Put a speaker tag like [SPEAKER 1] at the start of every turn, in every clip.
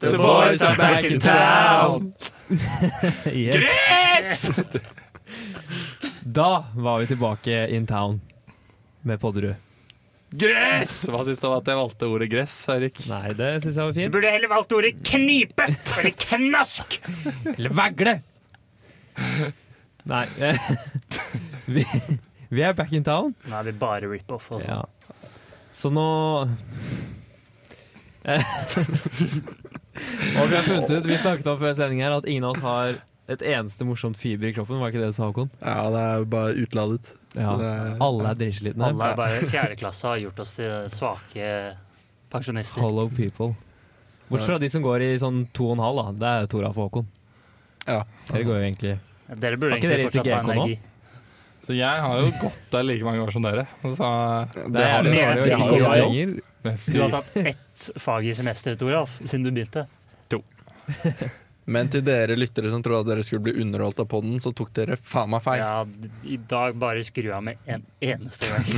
[SPEAKER 1] The boys are back in town!
[SPEAKER 2] Yes.
[SPEAKER 1] Yes!
[SPEAKER 2] Da var vi tilbake in town med Podderud.
[SPEAKER 1] Gress! Hva syns du om at jeg valgte ordet gress, Eirik?
[SPEAKER 2] Nei, det syns jeg var
[SPEAKER 3] Du
[SPEAKER 2] fint.
[SPEAKER 3] burde heller valgt ordet knipe eller knask.
[SPEAKER 2] Eller vagle! Nei. eh, Vi, vi er back in town.
[SPEAKER 3] Nå er vi bare rip-off. Altså.
[SPEAKER 2] Ja. Så nå Eh, Og vi har funnet ut, vi snakket om før sending her, at ingen av oss har et eneste morsomt fiber i kroppen. Var ikke det du sa, Håkon?
[SPEAKER 4] Ja, det er bare utladet.
[SPEAKER 2] Ja.
[SPEAKER 4] Det er-
[SPEAKER 2] Alle er dritslitne.
[SPEAKER 3] Alle er bare fjerdeklasse og har gjort oss til svake pensjonister.
[SPEAKER 2] Hollow people. Bortsett fra de som går i sånn to og en halv, da. Det er jo Toralf og Håkon.
[SPEAKER 4] Ja.
[SPEAKER 2] Dere går jo egentlig
[SPEAKER 3] Dere burde
[SPEAKER 2] Har ikke
[SPEAKER 3] egentlig
[SPEAKER 2] dere
[SPEAKER 3] fortsatt ha
[SPEAKER 2] GK nå?
[SPEAKER 3] energi.
[SPEAKER 1] Så jeg har jo gått der like mange år som dere. Og så
[SPEAKER 4] Det har
[SPEAKER 3] det
[SPEAKER 4] det.
[SPEAKER 3] har
[SPEAKER 4] det har jo jeg
[SPEAKER 2] lenger.
[SPEAKER 3] Du har tatt ett fag i semesteret, Toralf, siden du begynte.
[SPEAKER 4] Men til dere lyttere som trodde at dere skulle bli underholdt av podden, så tok dere faen meg feil.
[SPEAKER 3] Ja, I dag bare skru av med en eneste gang.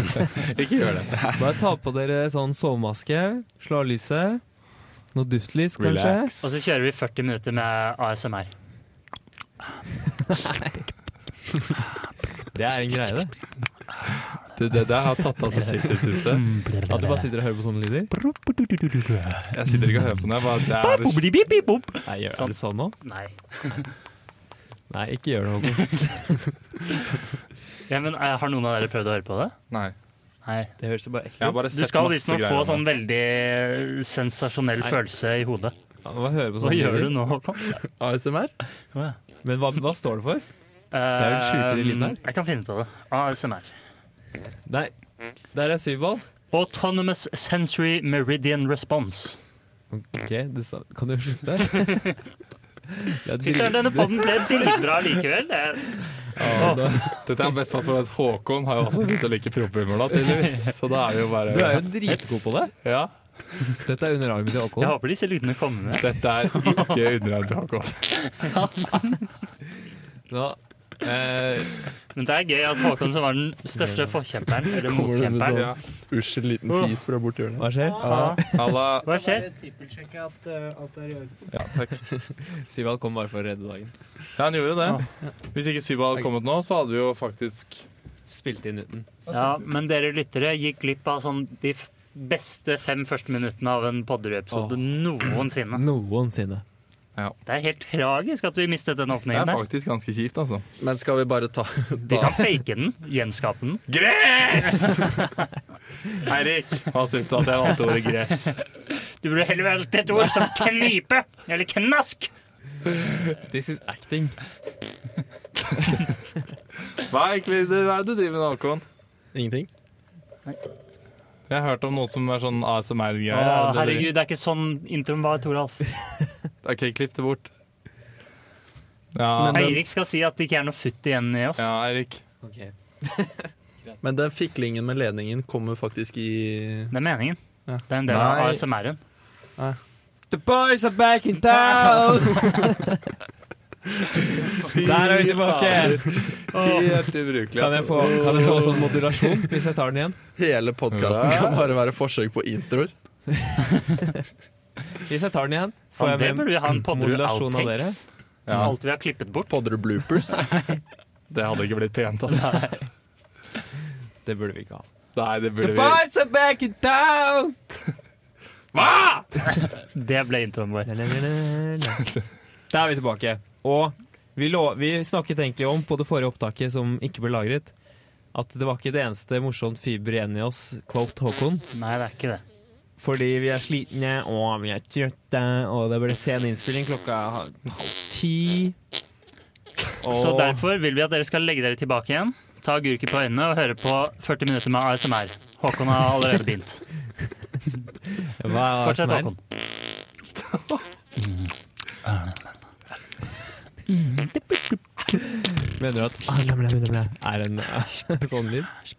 [SPEAKER 1] ikke gjør det.
[SPEAKER 2] Bare ta på dere sånn sovemaske, slå av lyset. Noe duftlys, kanskje. Altså,
[SPEAKER 1] Relax.
[SPEAKER 3] Og så kjører vi 40 minutter med ASMR.
[SPEAKER 2] Det er en greie, det.
[SPEAKER 1] Det, det der har tatt av så sykt i det siste.
[SPEAKER 2] At du bare sitter og hører på sånne lyder.
[SPEAKER 1] Jeg sitter ikke og hører på den. Jeg bare, det er det
[SPEAKER 2] Nei,
[SPEAKER 3] Sånn.
[SPEAKER 2] gjør sånn. det sånn nå?
[SPEAKER 3] Nei.
[SPEAKER 2] Nei, ikke gjør det, Håkon.
[SPEAKER 3] Ja, men eh, Har noen av dere prøvd å høre på det?
[SPEAKER 1] Nei.
[SPEAKER 3] Nei.
[SPEAKER 2] Det høres jo bare
[SPEAKER 1] Jeg
[SPEAKER 2] ekkelt
[SPEAKER 1] har bare
[SPEAKER 3] Du
[SPEAKER 1] sett
[SPEAKER 3] skal
[SPEAKER 1] masse
[SPEAKER 3] visstnok
[SPEAKER 1] greier.
[SPEAKER 3] få
[SPEAKER 1] om
[SPEAKER 3] sånn
[SPEAKER 1] det.
[SPEAKER 3] veldig sensasjonell
[SPEAKER 2] Nei.
[SPEAKER 3] følelse i hodet. Eh,
[SPEAKER 2] ut. Ja, Hva hører på
[SPEAKER 3] Hva
[SPEAKER 2] sånne
[SPEAKER 3] gjør du
[SPEAKER 2] lyder?
[SPEAKER 3] nå, Håkon?
[SPEAKER 4] ASMR?
[SPEAKER 2] Men hva, hva står det for?
[SPEAKER 3] er
[SPEAKER 2] vel sjukere i lyden her.
[SPEAKER 3] Jeg kan finne ut av det. ASMR.
[SPEAKER 2] Nei, der er syvball.
[SPEAKER 3] Autonomous Sensory Meridian Response.
[SPEAKER 2] Ok, det sa Kan du slutte? Det er
[SPEAKER 3] Fy søren, denne podden ble dritbra likevel. Det-
[SPEAKER 1] Dette er best for at Håkon har jo også begynt å like proffhumor, da, tydeligvis. Så da er vi jo bare
[SPEAKER 2] Du er jo dritgod på det.
[SPEAKER 1] Ja.
[SPEAKER 2] Dette er underarmen til
[SPEAKER 3] Jeg
[SPEAKER 2] Håkon.
[SPEAKER 3] håper disse lydene kommer med.
[SPEAKER 1] Dette er ikke underarm til Håkon.
[SPEAKER 2] Nå, eh,
[SPEAKER 3] Men det er gøy at Håkon, som var den største forkjemperen, eller
[SPEAKER 4] Kommer det med
[SPEAKER 3] motkjemperen
[SPEAKER 4] sånn usel liten fis fra borti hjørnet?
[SPEAKER 2] hva skjer?
[SPEAKER 4] Ja.
[SPEAKER 1] Halla.
[SPEAKER 3] Hva skjer?
[SPEAKER 5] Trippelsjekke at eh, alt er i orden.
[SPEAKER 1] Ja, takk.
[SPEAKER 2] Syvball kom bare for å redde dagen.
[SPEAKER 1] Ja, han gjorde det. Hvis ikke Syba hadde kommet nå, så hadde vi jo faktisk
[SPEAKER 2] Spilte inn uten.
[SPEAKER 3] Ja, men dere lyttere gikk glipp av sånn de f- beste fem første minuttene av en Podderud-episode noensinne.
[SPEAKER 2] Noensinne.
[SPEAKER 3] Det er helt tragisk at vi mistet den
[SPEAKER 1] Det
[SPEAKER 3] åpningen
[SPEAKER 1] er
[SPEAKER 3] der.
[SPEAKER 1] faktisk ganske kjipt, altså.
[SPEAKER 4] Men skal vi bare ta
[SPEAKER 3] De kan fake den, gjenskape den.
[SPEAKER 1] Gress! Eirik, hva syns du at jeg valgte ordet gress?
[SPEAKER 3] Du burde heller valgt et ord som knipe eller knask.
[SPEAKER 2] This is acting.
[SPEAKER 1] Hva er egentlig det, hva er det du driver med, Håkon?
[SPEAKER 4] ingenting?
[SPEAKER 1] Jeg har hørt om noe som er sånn ASMR-greier.
[SPEAKER 3] Å,
[SPEAKER 1] Er det det
[SPEAKER 3] herregud, det er ikke sånn introen var, Toralf.
[SPEAKER 1] du- OK, klipp det bort. Ja,
[SPEAKER 4] Men-
[SPEAKER 3] Eirik skal si at det ikke er noe futt igjen i oss.
[SPEAKER 1] ja Eirik.
[SPEAKER 2] Ok.
[SPEAKER 4] Men den fiklingen med ledningen kommer faktisk i
[SPEAKER 3] Det er meningen.
[SPEAKER 4] Ja.
[SPEAKER 3] Det er en del av
[SPEAKER 1] Nei.
[SPEAKER 3] ASMR-en.
[SPEAKER 2] The boys are back in town! Der er vi tilbake!
[SPEAKER 1] Helt ubrukelig. altså.
[SPEAKER 2] Kan jeg få, kan jeg få sånn modulasjon hvis jeg tar den igjen?
[SPEAKER 4] Hele podkasten kan bare være forsøk på introer.
[SPEAKER 2] Hvis jeg tar den igjen, får
[SPEAKER 3] Faen, Det
[SPEAKER 2] jeg med
[SPEAKER 3] burde vi ha en Podderud
[SPEAKER 2] modulasjon av dere?
[SPEAKER 3] outtakes.
[SPEAKER 1] Ja,
[SPEAKER 3] Alt vi har klippet bort.
[SPEAKER 4] Podder og bloopers.
[SPEAKER 2] sånn-
[SPEAKER 1] det hadde ikke blitt pent, altså.
[SPEAKER 2] Det burde vi ikke ha.
[SPEAKER 1] Nei, det burde vi
[SPEAKER 2] boys are back in town!
[SPEAKER 3] Det ble introen vår.
[SPEAKER 2] Der er vi tilbake. Og vi, lå, vi snakket egentlig om på det forrige opptaket som ikke ble lagret, at det var ikke det eneste morsomt fiber igjen i oss, quote Håkon.
[SPEAKER 3] Nei, det er ikke det.
[SPEAKER 2] Fordi vi er slitne, og vi er trøtte, og det ble sen innspilling klokka halv ti. Og
[SPEAKER 3] Så derfor vil vi at dere skal legge dere tilbake igjen, ta agurker på øynene og høre på 40 minutter med ASMR. Håkon har allerede begynt.
[SPEAKER 2] hva er det
[SPEAKER 3] Fortsett,
[SPEAKER 2] som er?
[SPEAKER 3] Håkon.
[SPEAKER 2] Mener du at ah, bla, bla, bla, bla, er en eh, sånn lyd?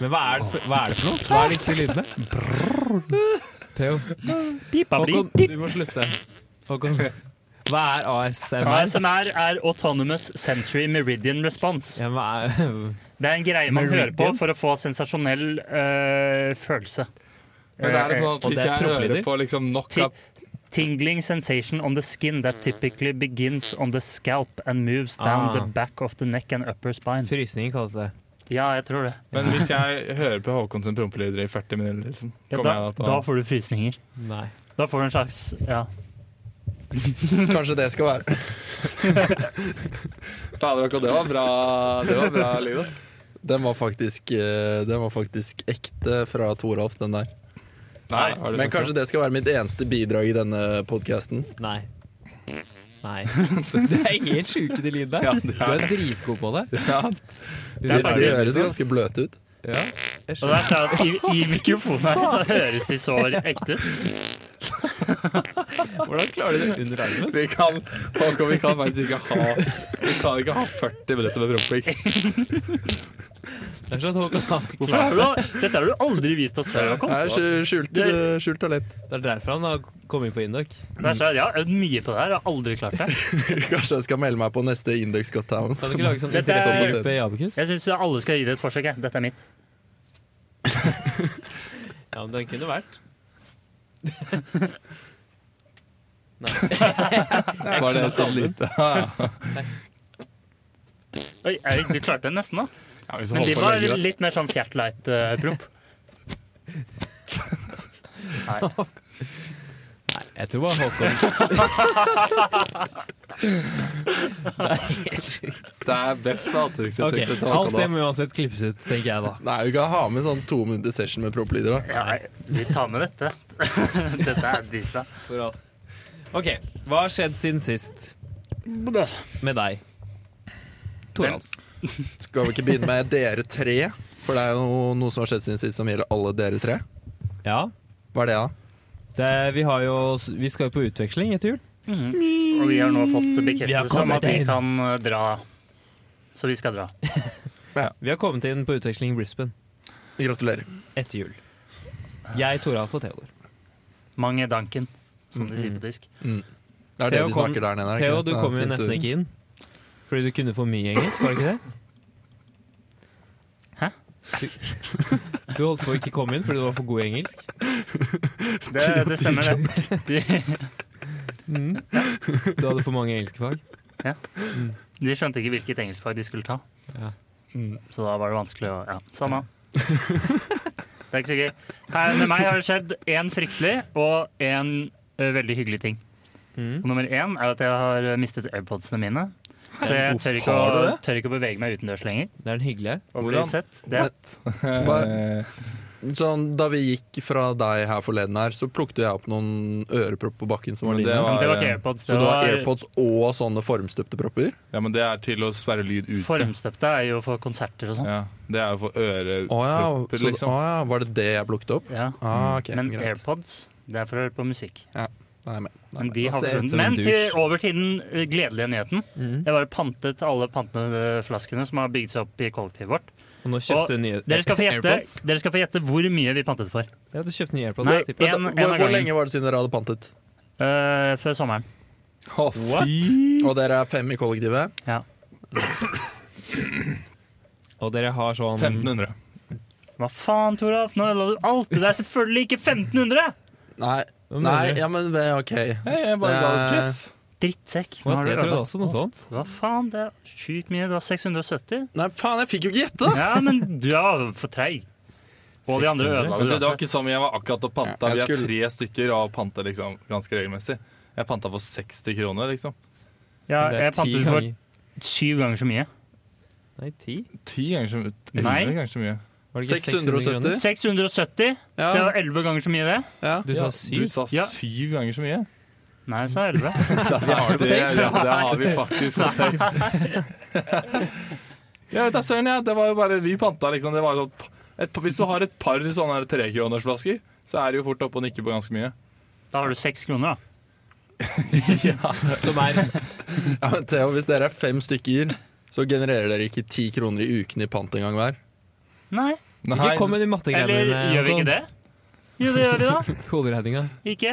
[SPEAKER 2] Men hva er det for, hva er det for noe? Hva er disse lydene? Theo,
[SPEAKER 3] Pipa blir
[SPEAKER 2] Håkon, du må slutte. Håkon, hva er ASMR?
[SPEAKER 3] ASMR er Autonomous Sensory Meridian Response.
[SPEAKER 2] Ja, hva er,
[SPEAKER 3] Det er en greie man hører
[SPEAKER 2] Meridian?
[SPEAKER 3] på for å få sensasjonell øh, følelse.
[SPEAKER 1] Men det er det sånn at
[SPEAKER 2] Og
[SPEAKER 1] hvis
[SPEAKER 2] det er
[SPEAKER 1] jeg
[SPEAKER 2] profflyder.
[SPEAKER 1] hører på liksom nok
[SPEAKER 3] Ti-
[SPEAKER 1] av
[SPEAKER 3] Tingling sensation on the skin that typically begins on the scalp and moves down
[SPEAKER 2] Ah.
[SPEAKER 3] the back of the neck and upper spine.
[SPEAKER 2] Frysninger kalles det.
[SPEAKER 3] Ja, jeg tror det.
[SPEAKER 1] Men hvis jeg hører på Håkon sin prompelyder i 40 minutter, liksom,
[SPEAKER 3] Ja,
[SPEAKER 1] kommer
[SPEAKER 3] da,
[SPEAKER 1] jeg
[SPEAKER 3] da
[SPEAKER 1] da til å
[SPEAKER 3] får du frysninger.
[SPEAKER 2] Nei.
[SPEAKER 3] Da får du en slags Ja.
[SPEAKER 4] Kanskje det skal være
[SPEAKER 1] Fader, Håkon, det var bra, det var bra lyd, ass.
[SPEAKER 4] Den var faktisk, eh, den var faktisk ekte fra Toralf, den der.
[SPEAKER 1] Nei, har du
[SPEAKER 4] Men
[SPEAKER 1] sagt
[SPEAKER 4] kanskje
[SPEAKER 1] det?
[SPEAKER 4] det skal være mitt eneste bidrag i denne podkasten.
[SPEAKER 2] Nei. Nei. Det er helt sjuke de lydene.
[SPEAKER 1] Ja,
[SPEAKER 2] du
[SPEAKER 1] det er
[SPEAKER 2] er dritgod på det.
[SPEAKER 1] Ja,
[SPEAKER 2] Det
[SPEAKER 4] De,
[SPEAKER 3] er
[SPEAKER 4] de
[SPEAKER 3] faktisk-
[SPEAKER 4] høres ganske bløte ut.
[SPEAKER 1] ja.
[SPEAKER 2] Jeg
[SPEAKER 3] Og
[SPEAKER 2] skjønner.
[SPEAKER 3] det er sånn at i, I mikrofonen her så høres de så ekte ut.
[SPEAKER 2] Hvordan klarer de det under armen?
[SPEAKER 1] Vi kan, Håkon, vi kan faktisk ikke ha Vi kan ikke ha 40 minutter med promping.
[SPEAKER 2] Det er sånn at Håkon har
[SPEAKER 3] Hvorfor har du, dette har du aldri vist oss før, Håkon.
[SPEAKER 4] Det er skjult, eh,
[SPEAKER 3] Det-
[SPEAKER 4] skjult talent.
[SPEAKER 2] Det er derfor han har kommet inn på Indok.
[SPEAKER 3] Det er sånn, jeg har øvd mye på det her, jeg har aldri klart det.
[SPEAKER 4] Kanskje jeg skal melde meg på neste Index Got Talent.
[SPEAKER 2] Kan du ikke lage sånn
[SPEAKER 3] Dette er-
[SPEAKER 2] interessegruppe i Abekus?
[SPEAKER 3] Jeg syns alle skal gi det et forsøk. Jeg. Dette er mitt.
[SPEAKER 2] Ja, men den kunne vært.
[SPEAKER 1] Var det et sånt lite Ja,
[SPEAKER 3] Oi, Erik, du klarte det nesten, da.
[SPEAKER 1] hvis vi
[SPEAKER 3] Men de
[SPEAKER 1] holder på
[SPEAKER 3] var
[SPEAKER 1] lenge, da.
[SPEAKER 3] litt mer sånn fjertlight-promp.
[SPEAKER 2] Nei, jeg tror bare Håkon.
[SPEAKER 1] Det er best
[SPEAKER 2] Ok,
[SPEAKER 1] med attrykksuttrykk til
[SPEAKER 2] Alt
[SPEAKER 1] Håkon.
[SPEAKER 2] det
[SPEAKER 1] da.
[SPEAKER 2] må uansett klippes ut, tenker jeg da.
[SPEAKER 4] Nei, vi kan ha med sånn to minutter session med propplyder. da.
[SPEAKER 3] Ja, vi tar med dette. Dette er dritbra.
[SPEAKER 2] Ok, hva har skjedd siden sist med deg? Toralf.
[SPEAKER 4] Skal vi ikke begynne med dere tre? For det er jo noe, noe som har skjedd siden sist som gjelder alle dere tre.
[SPEAKER 2] Ja,
[SPEAKER 4] Hva er det, da?
[SPEAKER 2] det, er- vi, har jo, vi skal jo på utveksling etter jul.
[SPEAKER 3] Mhm. Og vi har nå fått
[SPEAKER 2] Vi har
[SPEAKER 3] bekreftelse om
[SPEAKER 2] kommet
[SPEAKER 3] at vi
[SPEAKER 2] inn.
[SPEAKER 3] kan eh, dra. Så vi skal dra.
[SPEAKER 2] Vi har kommet inn på utveksling i Brisbane
[SPEAKER 4] Gratulerer.
[SPEAKER 2] etter jul. Jeg, Toralf og Theodor.
[SPEAKER 3] Mange danken, som de sier på tysk.
[SPEAKER 4] Det er det
[SPEAKER 2] Theo
[SPEAKER 4] vi
[SPEAKER 2] kom-
[SPEAKER 4] snakker der nede. er det
[SPEAKER 2] Theo,
[SPEAKER 4] ikke det?
[SPEAKER 2] du
[SPEAKER 4] Det er
[SPEAKER 2] kom jo
[SPEAKER 4] fint
[SPEAKER 2] nesten
[SPEAKER 4] ord.
[SPEAKER 2] ikke inn. Fordi du kunne for mye engelsk, var det ikke det?
[SPEAKER 3] Hæ?
[SPEAKER 2] Du, du holdt på å ikke komme inn fordi du var for god i engelsk.
[SPEAKER 3] Det, det stemmer, det. De,
[SPEAKER 2] Mm. Du hadde for mange engelske fag.
[SPEAKER 3] de skjønte ikke hvilket engelskfag de skulle ta,
[SPEAKER 4] Mm.
[SPEAKER 3] så da var det vanskelig å Ja, samme. Det er ikke så gøy. Her med meg har det skjedd én fryktelig og én veldig hyggelig ting.
[SPEAKER 2] Mm.
[SPEAKER 3] Og nummer én er at jeg har mistet airpodsene mine. Så jeg tør ikke,
[SPEAKER 1] Har du
[SPEAKER 3] å,
[SPEAKER 1] det?
[SPEAKER 3] tør ikke å bevege meg utendørs lenger.
[SPEAKER 2] Det er den hyggelige.
[SPEAKER 3] Og bli
[SPEAKER 1] Hvordan?
[SPEAKER 3] sett. Det,
[SPEAKER 1] Eh,
[SPEAKER 4] Sånn, da vi gikk fra deg her forleden her, så plukket jeg opp noen ørepropper på bakken som var
[SPEAKER 1] Men det
[SPEAKER 4] dine.
[SPEAKER 1] var-
[SPEAKER 3] det var ikke airpods.
[SPEAKER 4] Så
[SPEAKER 3] Det
[SPEAKER 4] du har
[SPEAKER 3] var
[SPEAKER 4] airpods og sånne formstøpte propper?
[SPEAKER 1] Ja, men det er til å sperre lyd ute.
[SPEAKER 3] formstøpte er jo for konserter og sånn.
[SPEAKER 1] Ja, det er jo for
[SPEAKER 4] Å ja,
[SPEAKER 1] ørepropper,
[SPEAKER 4] så,
[SPEAKER 1] liksom.
[SPEAKER 4] å ja, var det det jeg plukket opp?
[SPEAKER 3] Ja.
[SPEAKER 4] Ah, ok,
[SPEAKER 3] Men
[SPEAKER 4] greit.
[SPEAKER 3] airpods, det er for å høre på musikk.
[SPEAKER 4] Nei, men, nei,
[SPEAKER 3] Men, de
[SPEAKER 2] det
[SPEAKER 3] har
[SPEAKER 2] ser ut
[SPEAKER 3] forsvunnet.
[SPEAKER 2] som altså,
[SPEAKER 3] men
[SPEAKER 2] en dusj.
[SPEAKER 3] til over til den eh, gledelige nyheten.
[SPEAKER 2] Mm.
[SPEAKER 3] Jeg bare pantet alle panteflaskene som har bygd seg opp i kollektivet vårt.
[SPEAKER 2] Og nå kjøpte du nye
[SPEAKER 3] Dere skal få gjette,
[SPEAKER 2] AirPods.
[SPEAKER 3] dere skal få gjette hvor mye vi pantet for.
[SPEAKER 2] Ja, du kjøpte nye AirPods.
[SPEAKER 3] Nei.
[SPEAKER 2] tipper jeg.
[SPEAKER 4] Men da-
[SPEAKER 3] en- en
[SPEAKER 4] hvor,
[SPEAKER 3] av
[SPEAKER 4] hvor
[SPEAKER 3] gangen.
[SPEAKER 4] lenge var det siden dere hadde pantet?
[SPEAKER 3] Eh, før sommeren.
[SPEAKER 1] Å, fy!
[SPEAKER 4] Og dere er fem i kollektivet?
[SPEAKER 3] Ja.
[SPEAKER 2] Og dere har sånn
[SPEAKER 1] 1500.
[SPEAKER 3] Hva faen, Toralf? Nå ødela du alt! Det er selvfølgelig ikke 1500!
[SPEAKER 4] Nei,
[SPEAKER 2] Hva mener
[SPEAKER 4] nei
[SPEAKER 2] du?
[SPEAKER 4] ja, men det- OK.
[SPEAKER 1] Hei, jeg bare ga et guess.
[SPEAKER 3] Drittsekk. Nå
[SPEAKER 2] What?
[SPEAKER 3] har du
[SPEAKER 2] Jeg trodde
[SPEAKER 3] ødelagt
[SPEAKER 2] også noe sånt.
[SPEAKER 3] Hva faen, det er sjukt mye. Det var 670.
[SPEAKER 4] Nei, faen, jeg fikk jo ikke gjette!
[SPEAKER 3] Ja, men du er for treig. Og de andre
[SPEAKER 2] 600.
[SPEAKER 3] ødela
[SPEAKER 1] Men
[SPEAKER 3] du
[SPEAKER 1] du, det var
[SPEAKER 3] uansett.
[SPEAKER 1] ikke som jeg var akkurat og panta.
[SPEAKER 4] Ja, jeg
[SPEAKER 1] Vi er
[SPEAKER 4] skulle-
[SPEAKER 1] tre stykker og panter liksom, ganske regelmessig. Jeg panta for 60 kroner, liksom.
[SPEAKER 3] Ja,
[SPEAKER 2] Det er
[SPEAKER 3] jeg
[SPEAKER 2] ti
[SPEAKER 3] pantet for
[SPEAKER 2] ganger-
[SPEAKER 3] syv ganger så mye.
[SPEAKER 2] Nei, ti?
[SPEAKER 1] Ti ganger så mye.
[SPEAKER 3] Nei.
[SPEAKER 1] Elleve ganger så mye.
[SPEAKER 2] Var det ikke
[SPEAKER 4] 670?
[SPEAKER 2] 600 kroner?
[SPEAKER 3] 670.
[SPEAKER 4] Ja,
[SPEAKER 3] Det var elleve ganger så mye, det.
[SPEAKER 4] ja.
[SPEAKER 2] Du
[SPEAKER 1] Ja,
[SPEAKER 2] sa syv?
[SPEAKER 1] Du sa
[SPEAKER 3] Ja.
[SPEAKER 1] syv ganger så mye.
[SPEAKER 3] Nei, jeg sa elleve.
[SPEAKER 1] Det har, det, ja, det har vi faktisk fått til. Ja, vet du, søren, ja, det var jo bare vi panta, liksom. Det var jo sånn, et, hvis du har et par sånne her trekronersflasker, så er det jo fort oppe og nikker på ganske mye.
[SPEAKER 3] Da har du seks kroner, da.
[SPEAKER 2] Som er
[SPEAKER 4] ja men Theo, hvis dere er fem stykker, så genererer dere ikke ti kroner i uken i pant engang hver.
[SPEAKER 3] Nei.
[SPEAKER 2] Ikke kom med de mattegreiene
[SPEAKER 3] Eller
[SPEAKER 2] dine,
[SPEAKER 3] gjør vi ikke
[SPEAKER 2] Håkon.
[SPEAKER 3] det? Jo, det gjør vi da.
[SPEAKER 2] Hoderegninga.
[SPEAKER 3] Ikke?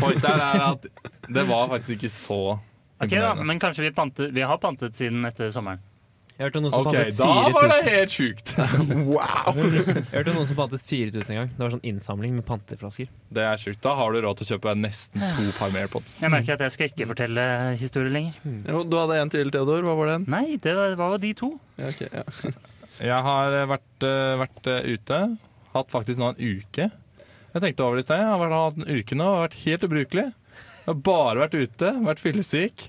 [SPEAKER 1] Point der er at det var faktisk ikke så
[SPEAKER 3] Ok, da.
[SPEAKER 1] imponerende.
[SPEAKER 3] Men kanskje vi, pantet, vi har pantet siden etter sommeren.
[SPEAKER 2] Jeg hørte om noen som
[SPEAKER 1] Ok,
[SPEAKER 2] pantet
[SPEAKER 1] da var det
[SPEAKER 2] 4000
[SPEAKER 1] helt sjukt.
[SPEAKER 4] Wow!
[SPEAKER 2] Jeg hørte om noen som pantet 4000 en gang. Det var sånn innsamling med panteflasker.
[SPEAKER 1] Det er sjukt. Da har du råd til å kjøpe nesten to par med AirPods.
[SPEAKER 3] Jeg merker at jeg skal ikke fortelle historier lenger.
[SPEAKER 4] Jo, du hadde en til, Theodor. Hva var den?
[SPEAKER 3] Nei, det var jo de to.
[SPEAKER 4] Ja, ok, ja.
[SPEAKER 1] Jeg har eh, vært, eh, vært eh, ute. Hatt faktisk nå en uke. Jeg tenkte over det i sted. Jeg har vært- hatt en uke nå og vært helt ubrukelig. Jeg har bare vært ute, vært fyllesyk.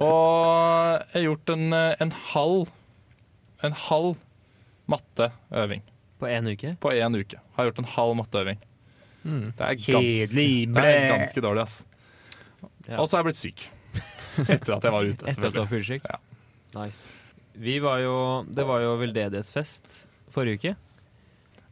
[SPEAKER 1] Og jeg har gjort en, eh, en halv En halv matteøving
[SPEAKER 2] På én uke.
[SPEAKER 1] på én uke. Har gjort en halv matteøving.
[SPEAKER 4] Mm.
[SPEAKER 1] Det er ganske,
[SPEAKER 3] Kjedelig.
[SPEAKER 1] det er
[SPEAKER 3] ble.
[SPEAKER 1] ganske dårlig, ass.
[SPEAKER 2] Ja.
[SPEAKER 1] Og så har jeg blitt syk. Etter at jeg var ute.
[SPEAKER 2] Etter at du
[SPEAKER 1] selvfølgelig.
[SPEAKER 2] var fyllesyk.
[SPEAKER 1] Ja.
[SPEAKER 2] Nice. Vi var jo Det var jo veldedighetsfest forrige uke.